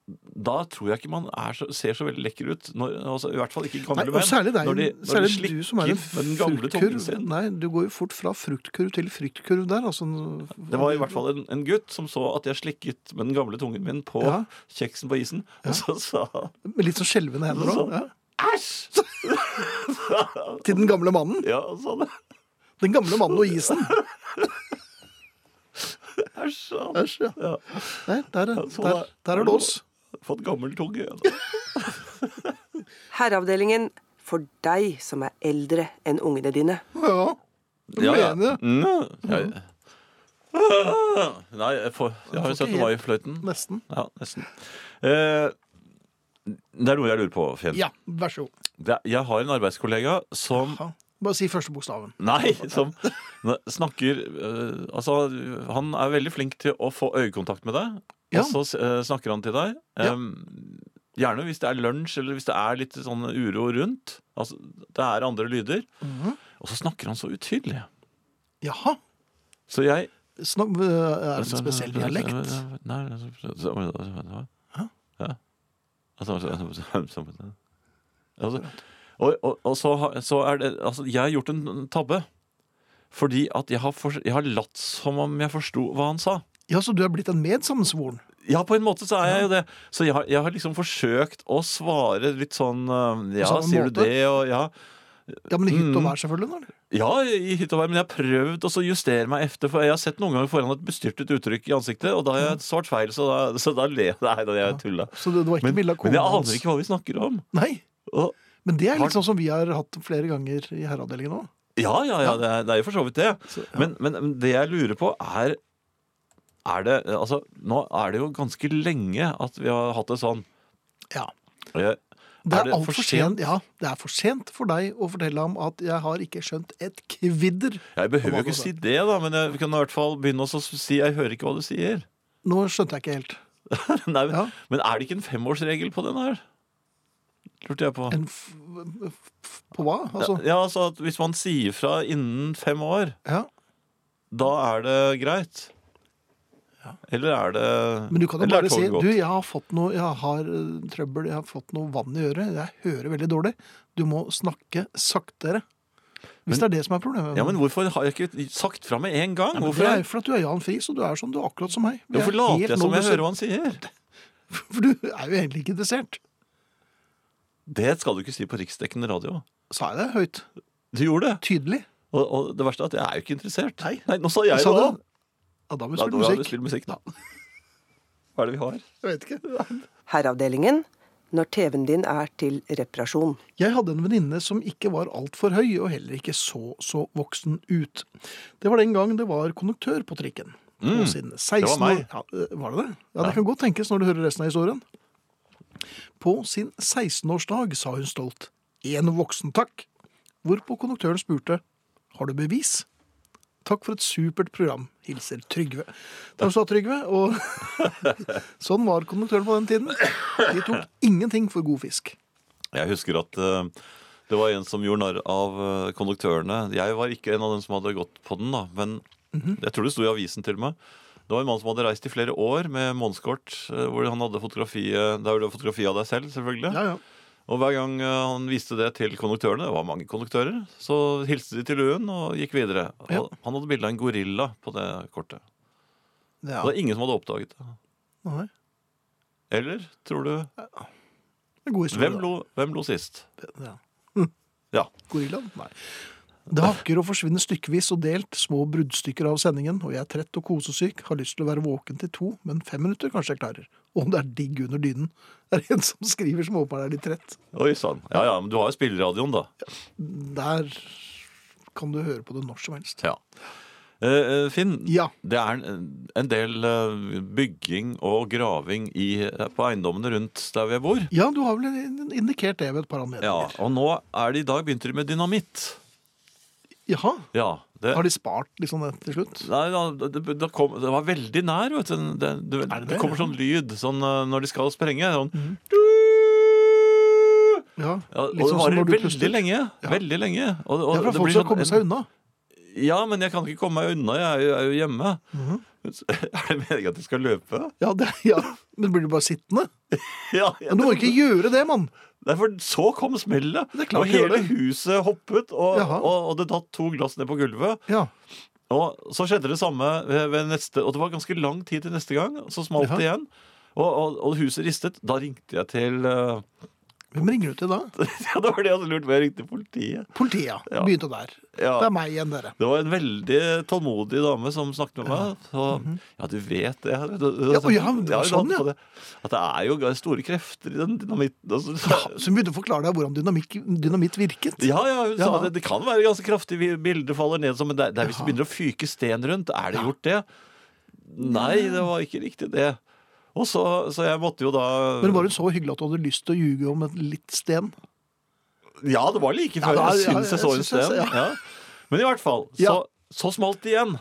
Speaker 2: da tror jeg ikke man er så, ser så veldig lekker ut. Når, altså, I hvert fall ikke gamle
Speaker 1: Nei, og særlig deg,
Speaker 2: når de, når de
Speaker 1: særlig du som er en
Speaker 2: slikker med den gamle tungen
Speaker 1: fruktkurv.
Speaker 2: sin.
Speaker 1: Nei, du går jo fort fra fruktkurv til fryktkurv der. Altså,
Speaker 2: Det var i hvert fall en, en gutt som så at jeg slikket med den gamle tungen min på
Speaker 1: Ja.
Speaker 2: kjeksen på isen, og så sa han
Speaker 1: Med litt sånn skjelvende hender òg.
Speaker 2: Sånn.
Speaker 1: Ja.
Speaker 2: æsj!
Speaker 1: Til den gamle mannen.
Speaker 2: Ja, og sånn. sa det.
Speaker 1: Den gamle mannen og isen.
Speaker 2: Æsj! sa han.
Speaker 1: Æsj, ja.
Speaker 2: Ja.
Speaker 1: Nei, der, er-
Speaker 2: sånn
Speaker 1: der,
Speaker 2: er-
Speaker 1: der er det oss.
Speaker 2: Fått gammel tunge.
Speaker 3: Herreavdelingen for deg som er eldre enn ungene dine.
Speaker 1: Ja. Mener.
Speaker 2: Mm. Ja, ja. Ah, Nei, jeg, får, jeg har jo
Speaker 1: Får ikke
Speaker 2: 17. mai-fløyten.
Speaker 1: Nesten.
Speaker 2: Ja, nesten. Eh, det er noe jeg lurer på, Finn.
Speaker 1: Ja, vær så god.
Speaker 2: Det, jeg har en arbeidskollega som
Speaker 1: Ja. Bare si første bokstaven.
Speaker 2: Nei, som snakker eh, Altså, han er veldig flink til å få øyekontakt med deg,
Speaker 1: Ja.
Speaker 2: og så eh, snakker han til deg.
Speaker 1: Ja.
Speaker 2: Em, Gjerne hvis det er lunsj, eller hvis det er litt sånn uro rundt. Altså, det er andre lyder.
Speaker 1: Mhm.
Speaker 2: Og så snakker han så utydelig.
Speaker 1: Jaha.
Speaker 2: Så jeg
Speaker 1: Snak, øh, er
Speaker 2: Altså,
Speaker 1: det en spesiell dialekt?
Speaker 2: Nei altså- Ja. Altså, altså, og, og, og så, har- så er det Altså, jeg har gjort en tabbe. Fordi at jeg har, for, jeg har latt som om jeg forsto hva han sa.
Speaker 1: Ja, så du er blitt en medsammensvoren?
Speaker 2: Ja, på en måte så er jeg jo det. Så jeg har, jeg har liksom forsøkt å svare litt sånn eh, Ja,
Speaker 1: samme
Speaker 2: sier du
Speaker 1: måte?
Speaker 2: det, og ja.
Speaker 1: Ja, men i hytt og
Speaker 2: Mm.
Speaker 1: vær, selvfølgelig. nå, eller?
Speaker 2: Ja, i hytt og vær, men jeg har prøvd å så justere meg efter, for jeg har sett noen ganger foran et bestyrtet uttrykk i ansiktet, og da har jeg svart feil, så da, så da ler jeg. Nei, da er jeg tulla.
Speaker 1: Så det, det var ikke
Speaker 2: Men,
Speaker 1: bilde av
Speaker 2: men
Speaker 1: kona
Speaker 2: jeg aner ikke hva vi snakker om.
Speaker 1: Nei,
Speaker 2: Og,
Speaker 1: men det er
Speaker 2: Har-
Speaker 1: litt sånn som vi har hatt flere ganger i herreavdelingen òg.
Speaker 2: ja, ja, ja, det er, det er jo for så vidt det. Men, men men det jeg lurer på er, er det, altså, Nå er det jo ganske lenge at vi har hatt det sånn.
Speaker 1: Ja.
Speaker 2: Og jeg-
Speaker 1: Det er, alt for sent? Ja, det er for sent for deg å fortelle ham at jeg har ikke skjønt et kvidder.
Speaker 2: Jeg behøver jo ikke si det, da, men jeg vi kan i hvert fall begynne å så si 'jeg hører ikke hva du sier'.
Speaker 1: Nå skjønte jeg ikke helt.
Speaker 2: Nei, men,
Speaker 1: Ja.
Speaker 2: men er det ikke en femårsregel på den her? Lurte jeg på.
Speaker 1: En f f f på hva? Altså,
Speaker 2: Ja, altså at Hvis man sier fra innen fem år,
Speaker 1: ja.
Speaker 2: da er det greit. Eller er det
Speaker 1: Men du kan jo
Speaker 2: eller er
Speaker 1: bare si
Speaker 2: toget gått?
Speaker 1: du, jeg har fått noe, jeg har eh, trøbbel, jeg har fått noe vann i øret, jeg hører veldig dårlig. Du må snakke saktere. Hvis det er det som er problemet.
Speaker 2: Ja, men Hvorfor har jeg ikke sagt fra med en gang?
Speaker 1: Hvorfor
Speaker 2: Hvorfor,
Speaker 1: det er jo for at du er Jan Friis, og du er sånn, du er akkurat som meg. Vi
Speaker 2: hvorfor
Speaker 1: er
Speaker 2: later
Speaker 1: helt
Speaker 2: jeg som jeg
Speaker 1: noenlunde-
Speaker 2: hører hva han sier?
Speaker 1: For du er jo egentlig ikke interessert.
Speaker 2: Det skal du ikke si på riksdekkende radio.
Speaker 1: Sa jeg det høyt?
Speaker 2: Du gjorde det.
Speaker 1: Tydelig?
Speaker 2: Og, og det verste er at jeg er jo ikke interessert.
Speaker 1: Nei.
Speaker 2: nå sa jeg
Speaker 1: Sa
Speaker 2: det
Speaker 1: du
Speaker 2: da.
Speaker 1: det? Ja, da må vi
Speaker 2: Da
Speaker 1: spille
Speaker 2: har vi
Speaker 1: musikk.
Speaker 2: spilt musikk, da. Hva er det vi har?
Speaker 1: Jeg vet ikke.
Speaker 3: Herreavdelingen når TV-en din er til reparasjon.
Speaker 1: Jeg hadde en venninne som ikke var altfor høy, og heller ikke så så voksen ut. Det var den gang det var konduktør på trikken. Og siden 16
Speaker 2: Mm. var meg.
Speaker 1: År, ja, øh, var det det? Ja, det kan godt tenkes når du hører resten av historien. På sin 16-årsdag sa hun stolt én voksen takk, hvorpå konduktøren spurte har du bevis. Takk for et supert program. Hilser Trygve. Takk skal du ha, Trygve. Og sånn var konduktøren på den tiden. De tok ingenting for god fisk.
Speaker 2: Jeg husker at eh, det var en som gjorde narr av eh, konduktørene. Jeg var ikke en av dem som hadde gått på den, da, men
Speaker 1: Mhm.
Speaker 2: jeg tror det sto i avisen til og med. Det var en mann som hadde reist i flere år med månedskort, eh, hvor han hadde fotografi, eh, der var det fotografi av deg selv, selvfølgelig.
Speaker 1: Ja, ja.
Speaker 2: Og hver gang eh, han viste det til konduktørene, det var mange konduktører, så hilste de til luen og gikk videre. Og
Speaker 1: Ja.
Speaker 2: Han hadde bilde av en gorilla på det kortet.
Speaker 1: Ja.
Speaker 2: Det var ingen som hadde oppdaget det.
Speaker 1: Nei.
Speaker 2: Eller, tror du
Speaker 1: En god historie.
Speaker 2: Hvem lo, hvem lo sist?
Speaker 1: da. Ja.
Speaker 2: Ja.
Speaker 1: Gorillaen? Nei. Det hakker og forsvinner stykkevis og delt, små bruddstykker av sendingen, og jeg er trett og kosesyk, har lyst til å være våken til to, men fem minutter kanskje jeg klarer. Og om det er digg under dynen, er det en som skriver som åpenbart er litt trett.
Speaker 2: Oi sann. Ja ja, men du har jo spilleradioen, da.
Speaker 1: Der kan du høre på det når som helst.
Speaker 2: Ja. Eh, eh, Finn,
Speaker 1: Ja.
Speaker 2: det er en en del eh, bygging og graving i, eh, på eiendommene rundt der vi bor.
Speaker 1: Ja, du har vel in- indikert det ved et par
Speaker 2: Ja,
Speaker 1: anledninger.
Speaker 2: og nå er det i dag begynte de med dynamitt.
Speaker 1: Jaha.
Speaker 2: Ja, det,
Speaker 1: Har de spart liksom det til slutt?
Speaker 2: Nei, da, det, det, kom, det var veldig nær, vet du. Det, det, det,
Speaker 1: det?
Speaker 2: kommer sånn lyd sånn, eh, når de skal sprenge. Sånn.
Speaker 1: Ja,
Speaker 2: Ja, og
Speaker 1: litt sånn
Speaker 2: det
Speaker 1: som
Speaker 2: varer
Speaker 1: når du
Speaker 2: veldig
Speaker 1: puster.
Speaker 2: lenge. Veldig lenge. Og, og
Speaker 1: Det er for at folk
Speaker 2: blir
Speaker 1: skal
Speaker 2: sånn-
Speaker 1: komme seg unna.
Speaker 2: Ja, men jeg kan ikke komme meg unna. Jeg er jo, jeg er jo hjemme.
Speaker 1: Mhm.
Speaker 2: Er det meningen at jeg skal løpe?
Speaker 1: Ja, det, ja. Men blir du bare sittende?
Speaker 2: Ja, jeg,
Speaker 1: Men du må ikke gjøre det, mann!
Speaker 2: Nei, for så kom smellet,
Speaker 1: Det er klart
Speaker 2: og
Speaker 1: det gjør
Speaker 2: hele
Speaker 1: det.
Speaker 2: huset hoppet, og,
Speaker 1: Jaha.
Speaker 2: og, og det datt to glass ned på gulvet.
Speaker 1: Ja.
Speaker 2: Og så skjedde det samme ved, ved neste, og det var ganske lang tid til neste gang, så smalt det igjen. Og, og, og huset ristet. Da ringte jeg til eh,
Speaker 1: Hvem ringer du til da?
Speaker 2: Ja, det var det jeg hadde lurt på. Jeg ringte politiet.
Speaker 1: Politiet. ja.
Speaker 2: Ja.
Speaker 1: Begynte der.
Speaker 2: Ja.
Speaker 1: Det er meg igjen, dere.
Speaker 2: Det var en veldig tålmodig dame som snakket med meg. Så, ja, du vet det. Du, du,
Speaker 1: Mhm. Ja, å ja, det var
Speaker 2: jeg har jo
Speaker 1: sånn, ja.
Speaker 2: hatt på det. At det er jo store krefter i den dynamitten. altså. og så-
Speaker 1: Så hun begynte å forklare deg hvordan dynamikk, dynamitt virket.
Speaker 2: Ja, ja, hun
Speaker 1: Ja.
Speaker 2: sa det. Det kan være ganske kraftig. vi- Bilder faller ned som men det, er- det er Hvis du begynner å fyke sten rundt, er det gjort det? Nei, det var ikke riktig, det. Og så, så jeg måtte jo da
Speaker 1: Men var hun så hyggelig at du hadde lyst til å ljuge om et litt sten?
Speaker 2: Ja, det var like før.
Speaker 1: da- ja,
Speaker 2: jeg syns jeg
Speaker 1: jeg
Speaker 2: så en
Speaker 1: syns jeg
Speaker 2: sten.
Speaker 1: så-
Speaker 2: Ja. Men i hvert fall, så,
Speaker 1: Ja. Mm-hmm.
Speaker 2: så smalt det igjen.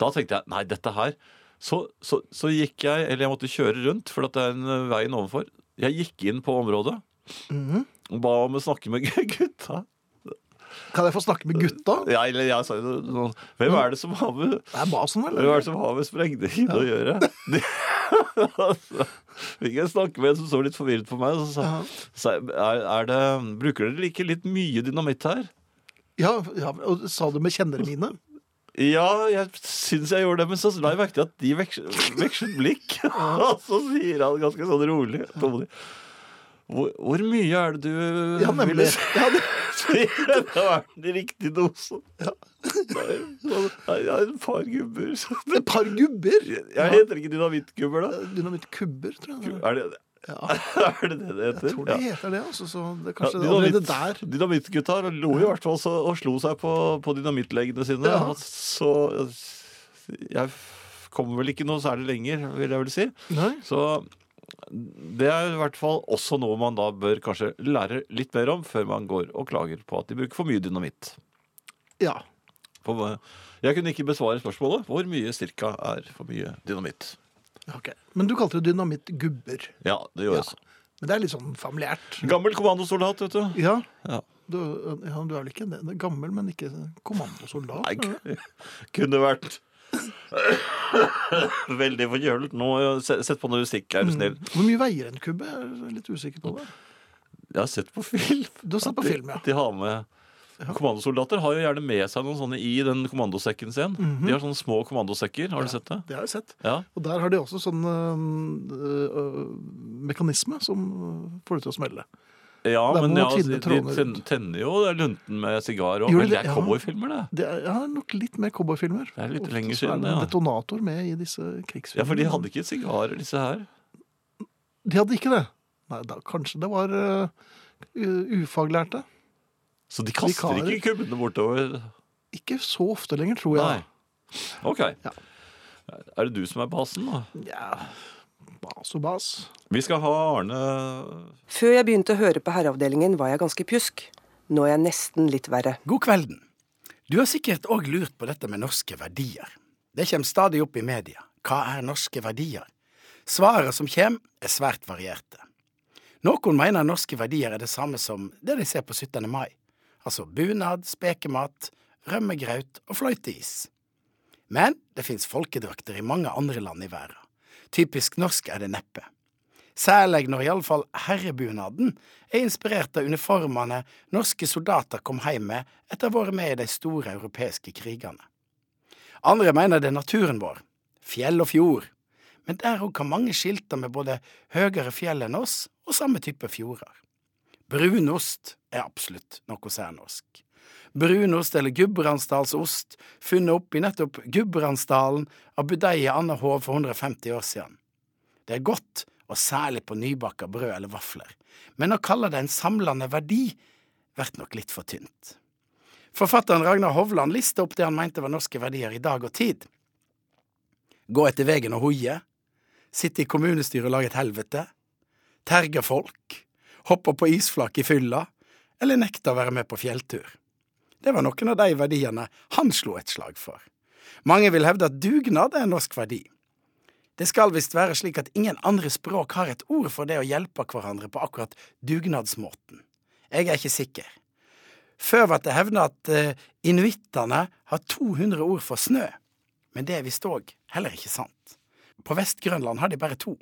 Speaker 2: Da tenkte jeg nei, dette her så, så, så gikk jeg, eller jeg måtte kjøre rundt, for at det er en eh, veien overfor. Jeg gikk inn på området
Speaker 1: Mm-hmm.
Speaker 2: og ba om å snakke med gutta.
Speaker 1: Kan jeg få snakke med gutta?
Speaker 2: Ja, eller jeg sa jo sånn Hvem
Speaker 1: Mm.
Speaker 2: er det som har med
Speaker 1: Det er basen,
Speaker 2: hvem er
Speaker 1: vel?
Speaker 2: det som har med sprengningen å gjøre? De, altså, fikk jeg snakke med en som så litt forvirret på meg. Og så sa sa jeg er, er det, Bruker dere like litt mye dynamitt her?
Speaker 1: Ja, ja, og Sa du med kjennere mine?
Speaker 2: Ja, jeg syns jeg gjorde det, men så la jeg merke til at de vekslet, vekslet blikk. Og så sier han ganske sånn rolig tålmodig hvor, hvor mye er det du
Speaker 1: Ja, nemlig.
Speaker 2: si?
Speaker 1: Ja, det,
Speaker 2: Det har vært den riktige dosen. Nei, Jeg er et par gubber. så-
Speaker 1: et par gubber.
Speaker 2: Jeg heter ikke dynamittkubber, da.
Speaker 1: Dynamittkubber, tror jeg. det er.
Speaker 2: Er det
Speaker 1: Ja,
Speaker 2: er det, det det
Speaker 1: jeg tror
Speaker 2: heter?
Speaker 1: det
Speaker 2: Ja.
Speaker 1: heter det. Altså, så det er
Speaker 2: Ja,
Speaker 1: kanskje allerede der.
Speaker 2: dynamitt- Dynamittgutta lo i hvert fall så, og slo seg på, på dynamittleggene sine.
Speaker 1: Ja.
Speaker 2: og Så jeg kommer vel ikke noe særlig lenger, vil jeg vel si.
Speaker 1: Nei.
Speaker 2: Så det er i hvert fall også noe man da bør kanskje lære litt mer om før man går og klager på at de bruker for mye dynamitt.
Speaker 1: Ja.
Speaker 2: For hva- Jeg kunne ikke besvare spørsmålet hvor mye cirka er for mye dynamitt.
Speaker 1: ok. Men du kalte det dynamittgubber.
Speaker 2: Ja, det gjør jeg også.
Speaker 1: Men det er litt sånn familiært.
Speaker 2: Gammel kommandosoldat, vet du.
Speaker 1: Ja.
Speaker 2: Ja.
Speaker 1: Du, ja, du er vel ikke en- en gammel, men ikke kommandosoldat?
Speaker 2: Nei, k- kunne vært Veldig forkjølet nå. se- Sett på noe musikk,
Speaker 1: Mm.
Speaker 2: er du snill.
Speaker 1: Hvor mye veier en kubbe? Jeg er litt usikker på det.
Speaker 2: Jeg har sett på film.
Speaker 1: Du har sett på
Speaker 2: At de-
Speaker 1: film, ja.
Speaker 2: at De har med Kommandosoldater har jo gjerne med seg noen sånne i den kommandosekken sin.
Speaker 1: Mhm.
Speaker 2: De har sånne små kommandosekker. Har du sett det?
Speaker 1: Det har jeg sett.
Speaker 2: Ja.
Speaker 1: Og der har de også sånn øhm, øh, mekanisme som øh, får det til å smelle.
Speaker 2: ja
Speaker 1: Der må
Speaker 2: men
Speaker 1: man
Speaker 2: ja, altså, de
Speaker 1: tvinne trådene
Speaker 2: ten-
Speaker 1: rundt.
Speaker 2: tenner jo det er lunten med sigar og
Speaker 1: Gjør de
Speaker 2: Men det
Speaker 1: det?
Speaker 2: er
Speaker 1: Ja.
Speaker 2: cowboyfilmer, det.
Speaker 1: Det er ja, nok litt mer cowboyfilmer.
Speaker 2: Det er litt
Speaker 1: Ofte
Speaker 2: lenger
Speaker 1: så er
Speaker 2: siden,
Speaker 1: det en
Speaker 2: ja.
Speaker 1: detonator med i disse krigsfilmene.
Speaker 2: Ja, for de hadde ikke sigarer, disse her.
Speaker 1: De hadde ikke det. Nei, da, kanskje det var øh, u- ufaglærte.
Speaker 2: Så de kaster
Speaker 1: Vikarer.
Speaker 2: ikke kubbene bortover.
Speaker 1: Ikke så ofte lenger, tror
Speaker 2: Nei.
Speaker 1: jeg.
Speaker 2: OK.
Speaker 1: Ja.
Speaker 2: Er det du som er basen, da?
Speaker 1: Ja, bas og bas.
Speaker 2: Vi skal ha Arne
Speaker 3: Før jeg begynte å høre på Herreavdelingen, var jeg ganske pjusk. Nå er jeg nesten litt verre.
Speaker 8: God kvelden. Du har sikkert òg lurt på dette med norske verdier. Det kommer stadig opp i media. Hva er norske verdier? Svaret som kommer, er svært varierte. Noen mener norske verdier er det samme som det de ser på 17. mai, altså bunad, spekemat, rømmegraut og fløyteis. Men det fins folkedrakter i mange andre land i verden. Typisk norsk er det neppe. Særlig når iallfall herrebunaden er inspirert av uniformene norske soldater kom hjem med etter å ha vært med i de store europeiske krigene. Andre mener det er naturen vår, fjell og fjord, men der òg kan mange skilte med både høyere fjell enn oss og samme type fjorder. Brunost er absolutt noe særnorsk. Brunost eller Gudbrandsdalsost, funnet opp i nettopp Gudbrandsdalen av budeie Andahov for 150 år siden. Det er godt, og særlig på nybaka brød eller vafler, men å kalle det en samlende verdi blir nok litt for tynt. Forfatteren Ragnar Hovland lista opp det han mente var norske verdier i dag og tid. Gå etter veien og hoie. Sitte i kommunestyret og lage et helvete. Terge folk. Hoppe på isflak i fylla. Eller nekte å være med på fjelltur. Det var noen av de verdiene han slo et slag for. Mange vil hevde at dugnad er en norsk verdi. Det skal visst være slik at ingen andre språk har et ord for det å hjelpe hverandre på akkurat dugnadsmåten. Jeg er ikke sikker. Før ble det hevna at eh, inuittene har 200 ord for snø, men det er visst òg heller ikke sant. På Vest-Grønland har de bare to.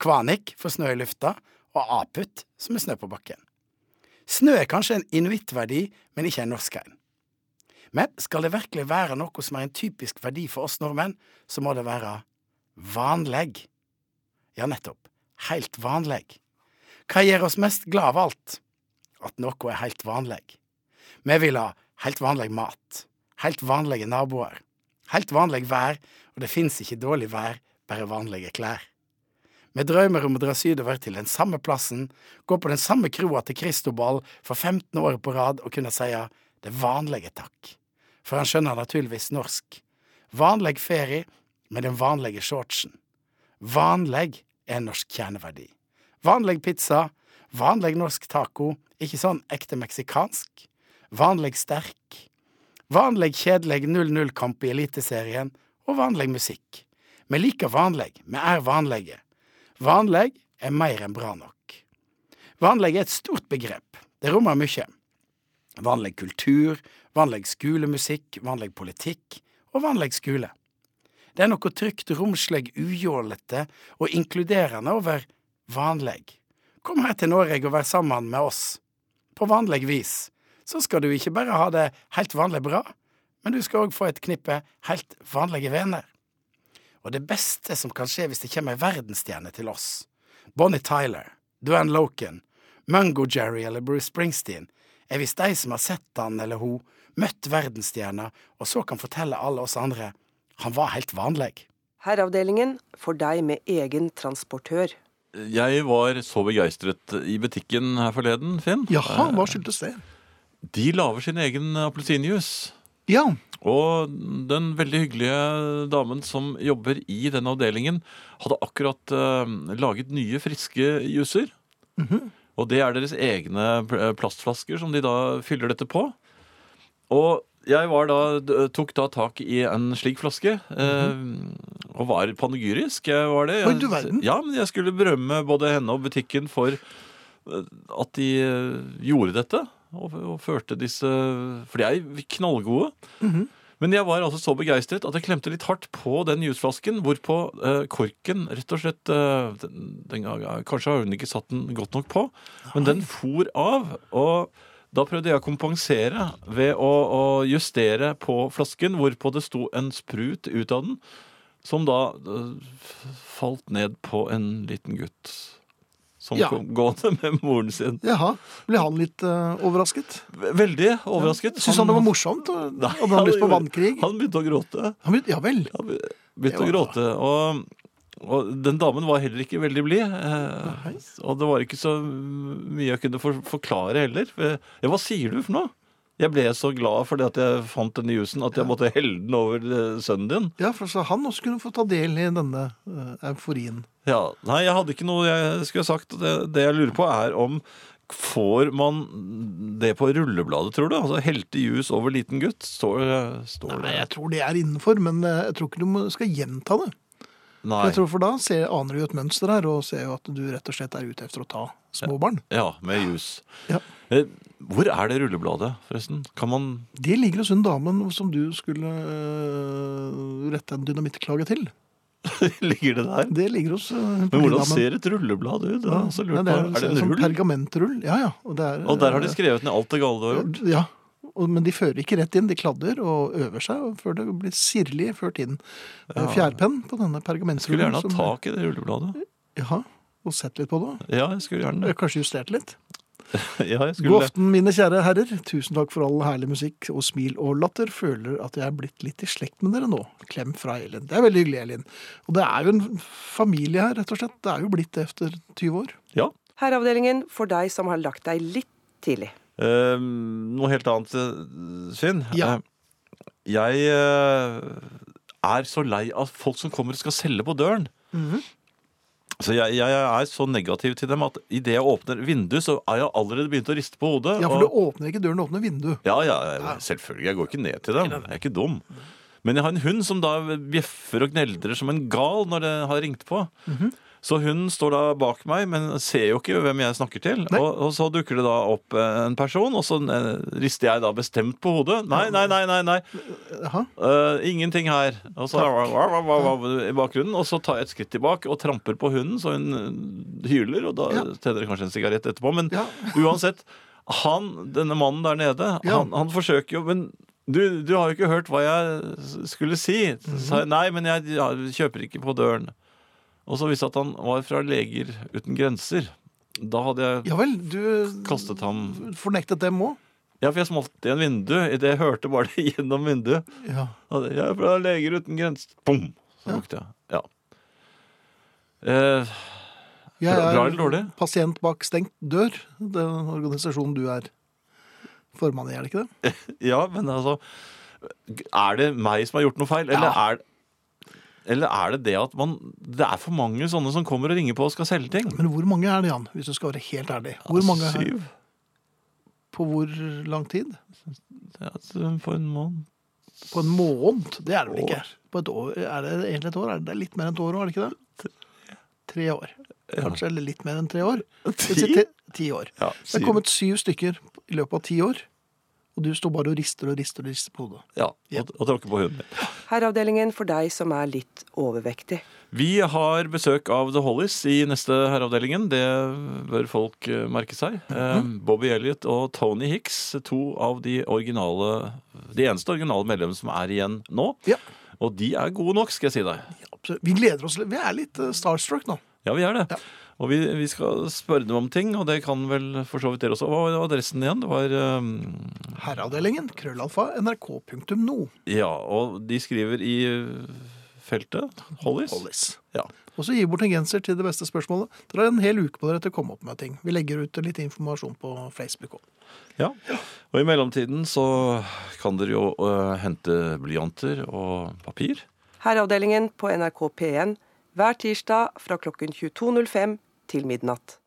Speaker 8: Kvanik for snø i lufta, og aput, som er snø på bakken. Snø er kanskje en inuittverdi, men ikke en norsk en. Men skal det virkelig være noe som er en typisk verdi for oss nordmenn, så må det være Vanleg. Ja, nettopp. Heilt vanleg. Hva gjør oss mest glad av alt? At noe er heilt vanleg. Vi vil ha heilt vanleg mat, heilt vanlige naboer, heilt vanleg vær, og det fins ikke dårlig vær, bare vanlige klær. Vi drømmer om å dra sydover til den samme plassen, gå på den samme kroa til Kristoball for 15 år på rad og kunne si det vanlige takk, for han skjønner naturligvis norsk. Vanleg ferie med den vanlige shortsen. Vanleg er en norsk kjerneverdi. Vanleg pizza, Vanlig norsk taco, ikke sånn ekte meksikansk. Vanlig sterk. Vanlig kjedelig 0-0-kamp i Eliteserien, og vanlig musikk. Vi liker vanlig, vi er vanlige. Vanlig er mer enn bra nok. Vanlig er et stort begrep. Det rommer mye. Vanlig kultur, vanlig skolemusikk, vanlig politikk og vanlig skole. Det er noe trygt, romslig, ujålete og inkluderende over vanlig. Kom her til Norge og vær sammen med oss. På vanlig vis. Så skal du ikke bare ha det helt vanlig bra, men du skal òg få et knippe helt vanlige venner. Og det beste som kan skje hvis det kommer ei verdensstjerne til oss, Bonnie Tyler, Duane Loken, Mungo Jerry eller Bruce Springsteen, er hvis de som har sett han eller hun, møtt verdensstjerna, og så kan fortelle alle oss andre han var helt vanlig.
Speaker 3: Herreavdelingen for deg med egen transportør.
Speaker 2: Jeg var så begeistret i butikken her forleden, Finn. Eh,
Speaker 1: Jaha, hva skyldtes det?
Speaker 2: De lager sin egen appelsinjuice.
Speaker 1: Ja,
Speaker 2: Og den veldig hyggelige damen som jobber i den avdelingen, hadde akkurat eh, laget nye, friske juicer.
Speaker 1: Mhm.
Speaker 2: Og det er deres egne pl- plastflasker som de da fyller dette på. Og jeg var da, d- tok da tak i en slik flaske, eh, og var panegyrisk. Jeg var det.
Speaker 1: Oi,
Speaker 2: Jeg-
Speaker 1: du verden.
Speaker 2: Ja, men jeg skulle berømme både henne og butikken for eh, at de eh, gjorde dette. Og, og førte disse For de er knallgode. Men jeg var altså så begeistret at jeg klemte litt hardt på den jusflasken, hvorpå eh, korken rett og slett eh, den, den, gang- Kanskje har hun ikke satt den godt nok på, men den for av. Og da prøvde jeg å kompensere ved å, å justere på flasken, hvorpå det sto en sprut ut av den, som da eh, f- falt ned på en liten gutt. Som
Speaker 1: Ja.
Speaker 2: kom gående med moren sin.
Speaker 1: jaha. Ble han litt eh, overrasket?
Speaker 2: Veldig overrasket.
Speaker 1: Synes han det var morsomt? og-
Speaker 2: Nei,
Speaker 1: Hadde han lyst på
Speaker 2: gjorde-
Speaker 1: vannkrig?
Speaker 2: Han begynte å gråte.
Speaker 1: Han begynte- Ja vel.
Speaker 2: Han be-
Speaker 1: Det
Speaker 2: begynte
Speaker 1: var
Speaker 2: å gråte. Og, og den damen var heller ikke veldig blid. eh, Og det var ikke så mye jeg kunne for, forklare heller. For jeg- Ja, hva sier du for noe? Jeg ble så glad fordi at jeg fant denne jusen at jeg måtte helle den over eh, sønnen din.
Speaker 1: Ja, for så han også kunne få ta del i denne eh, euforien.
Speaker 2: Ja, Nei, jeg hadde ikke noe jeg skulle ha sagt. Det, det jeg lurer på, er om Får man det på rullebladet, tror du? Altså Helte jus over liten gutt? Står, eh, står
Speaker 1: Nei,
Speaker 2: det
Speaker 1: jeg tror det er innenfor, men eh, jeg tror ikke du må- skal gjenta det.
Speaker 2: Nei.
Speaker 1: Jeg tror For da ser, aner du jo et mønster her, og ser jo at du rett og slett er ute etter å ta små barn.
Speaker 2: Ja, med jus.
Speaker 1: Ja.
Speaker 2: Eh, Hvor er det rullebladet, forresten? Kan man
Speaker 1: Det ligger hos hun damen som du skulle eh, rette en dynamittklage til.
Speaker 2: Ligger det der?
Speaker 1: Det ligger hos uh,
Speaker 2: Men hvordan ser et rulleblad ut? Det er også lurt
Speaker 1: det
Speaker 2: på.
Speaker 1: er,
Speaker 2: Er det en
Speaker 1: som
Speaker 2: rull?
Speaker 1: pergamentrull. Ja, ja. Og, det er, eh,
Speaker 2: Og der har de skrevet ned alt det gale du har gjort.
Speaker 1: Ja, og, men de fører ikke rett inn. De kladder og øver seg og før det blir sirlig ført inn. Eh, Fjærpenn på denne
Speaker 2: Jeg skulle
Speaker 1: pergamentrullen.
Speaker 2: gjerne hatt tak i det rullebladet.
Speaker 1: Ja, og sett litt på det.
Speaker 2: Ja, jeg skulle gjerne det.
Speaker 1: og Kanskje justert litt.
Speaker 2: Ja,
Speaker 1: God
Speaker 2: jeg skulle det.
Speaker 1: aften, mine kjære herrer. Tusen takk for all herlig musikk og smil og latter. Føler at jeg er blitt litt i slekt med dere nå. Klem fra Elin. Det er veldig hyggelig, Elin. Og det er jo en familie her, rett og slett. Det er jo blitt det etter 20 år.
Speaker 2: Ja.
Speaker 3: Herreavdelingen for deg som har lagt deg litt tidlig.
Speaker 2: Eh, noe helt annet, eh, Finn.
Speaker 1: Ja.
Speaker 2: Eh, jeg eh, er så lei av folk som kommer og skal selge på døren.
Speaker 1: Mhm.
Speaker 2: Så jeg, jeg er så negativ til dem at idet jeg åpner vinduet, så er jeg allerede begynt å riste på hodet.
Speaker 1: Ja,
Speaker 2: og-
Speaker 1: for du åpner ikke døren, du åpner vinduet.
Speaker 2: Ja, ja, jeg- selvfølgelig. Jeg går ikke ned til dem. Jeg er ikke dum. Men jeg har en hund som da bjeffer og gneldrer som en gal når det har ringt på. Så hun står da bak meg, men ser jo ikke hvem jeg snakker til.
Speaker 1: Nei.
Speaker 2: Og, og så dukker det da opp eh, en person, og så eh, rister jeg da bestemt på hodet. Nei, nei, nei, nei. nei.
Speaker 1: Jaha.
Speaker 2: Eh, ingenting her. Og så i bakgrunnen. Og så tar jeg et skritt tilbake og tramper på hunden, så hun eh, hyler. Og da
Speaker 1: Ja.
Speaker 2: tenner det kanskje en sigarett etterpå. Men
Speaker 1: Ja.
Speaker 2: uansett, han, denne mannen der nede,
Speaker 1: Ja.
Speaker 2: han, han forsøker jo Men du, du har jo ikke hørt hva jeg s- skulle si.
Speaker 1: Mhm.
Speaker 2: Så sa jeg nei, men jeg, ja, kjøper ikke på døren. Og så visste jeg at han var fra Leger uten grenser. Da hadde jeg
Speaker 1: Ja vel, du
Speaker 2: kastet ham
Speaker 1: fornektet dem òg?
Speaker 2: Ja, for jeg smalt igjen vinduet idet jeg hørte bare det gjennom vinduet.
Speaker 1: Ja.
Speaker 2: Ja, det- Jeg er fra Leger uten grenser. Bom! Så lukte jeg. Ja. Eh,
Speaker 1: Jeg
Speaker 2: Bra-
Speaker 1: er
Speaker 2: bra eller dårlig?
Speaker 1: pasient bak stengt dør, den organisasjonen du er formann i, er det ikke det?
Speaker 2: ja, men altså Er det meg som har gjort noe feil, eller
Speaker 1: Ja.
Speaker 2: er Eller er det det at man, det er for mange sånne som kommer og ringer på og skal selge ting?
Speaker 1: Men hvor mange er det, Jan? Hvis du skal være helt ærlig. Hvor mange er
Speaker 2: Syv?
Speaker 1: På hvor lang tid?
Speaker 2: Ja, så på en måned.
Speaker 1: På en måned? Det er det vel ikke?
Speaker 2: År.
Speaker 1: På et år, er det egentlig et år? Er det- Det er litt mer enn et år òg, er det ikke det? Tre år. Kanskje, eller litt mer enn tre år. Ti,
Speaker 2: Ti?
Speaker 1: ti år.
Speaker 2: Ja,
Speaker 1: Det
Speaker 2: syv.
Speaker 1: er kommet syv stykker i løpet av ti år. Og du står bare og rister og rister og rister på hodet.
Speaker 2: Ja, og, og tråkke på hunden.
Speaker 3: Herreavdelingen for deg som er litt overvektig.
Speaker 2: Vi har besøk av The Hollies i neste herreavdelingen. Det bør folk eh, merke seg. Eh, Bobby Elliot og Tony Hicks, to av de originale De eneste originale medlemmene som er igjen nå.
Speaker 1: Ja.
Speaker 2: Og de er gode nok, skal jeg si deg.
Speaker 1: absolutt. Vi gleder oss litt. Vi er litt eh, starstruck nå.
Speaker 2: Ja, vi er det. Og vi, vi skal spørre dem om ting, og det kan vel for så vidt dere også. Hva var adressen igjen? Det var eh,
Speaker 1: Herreavdelingen, krøllalfa, nrk.no.
Speaker 2: Ja, og de skriver i feltet Hollies.
Speaker 1: Hollies.
Speaker 2: Ja.
Speaker 1: Og så gir vi bort en genser til det beste spørsmålet. Dere har en hel uke på dere til å komme opp med ting. Vi legger ut litt informasjon på Facebook òg.
Speaker 2: ja. Og i mellomtiden så kan dere jo eh, hente blyanter og papir.
Speaker 3: Herreavdelingen på NRK P1 hver tirsdag fra klokken 22.05 til midnatt.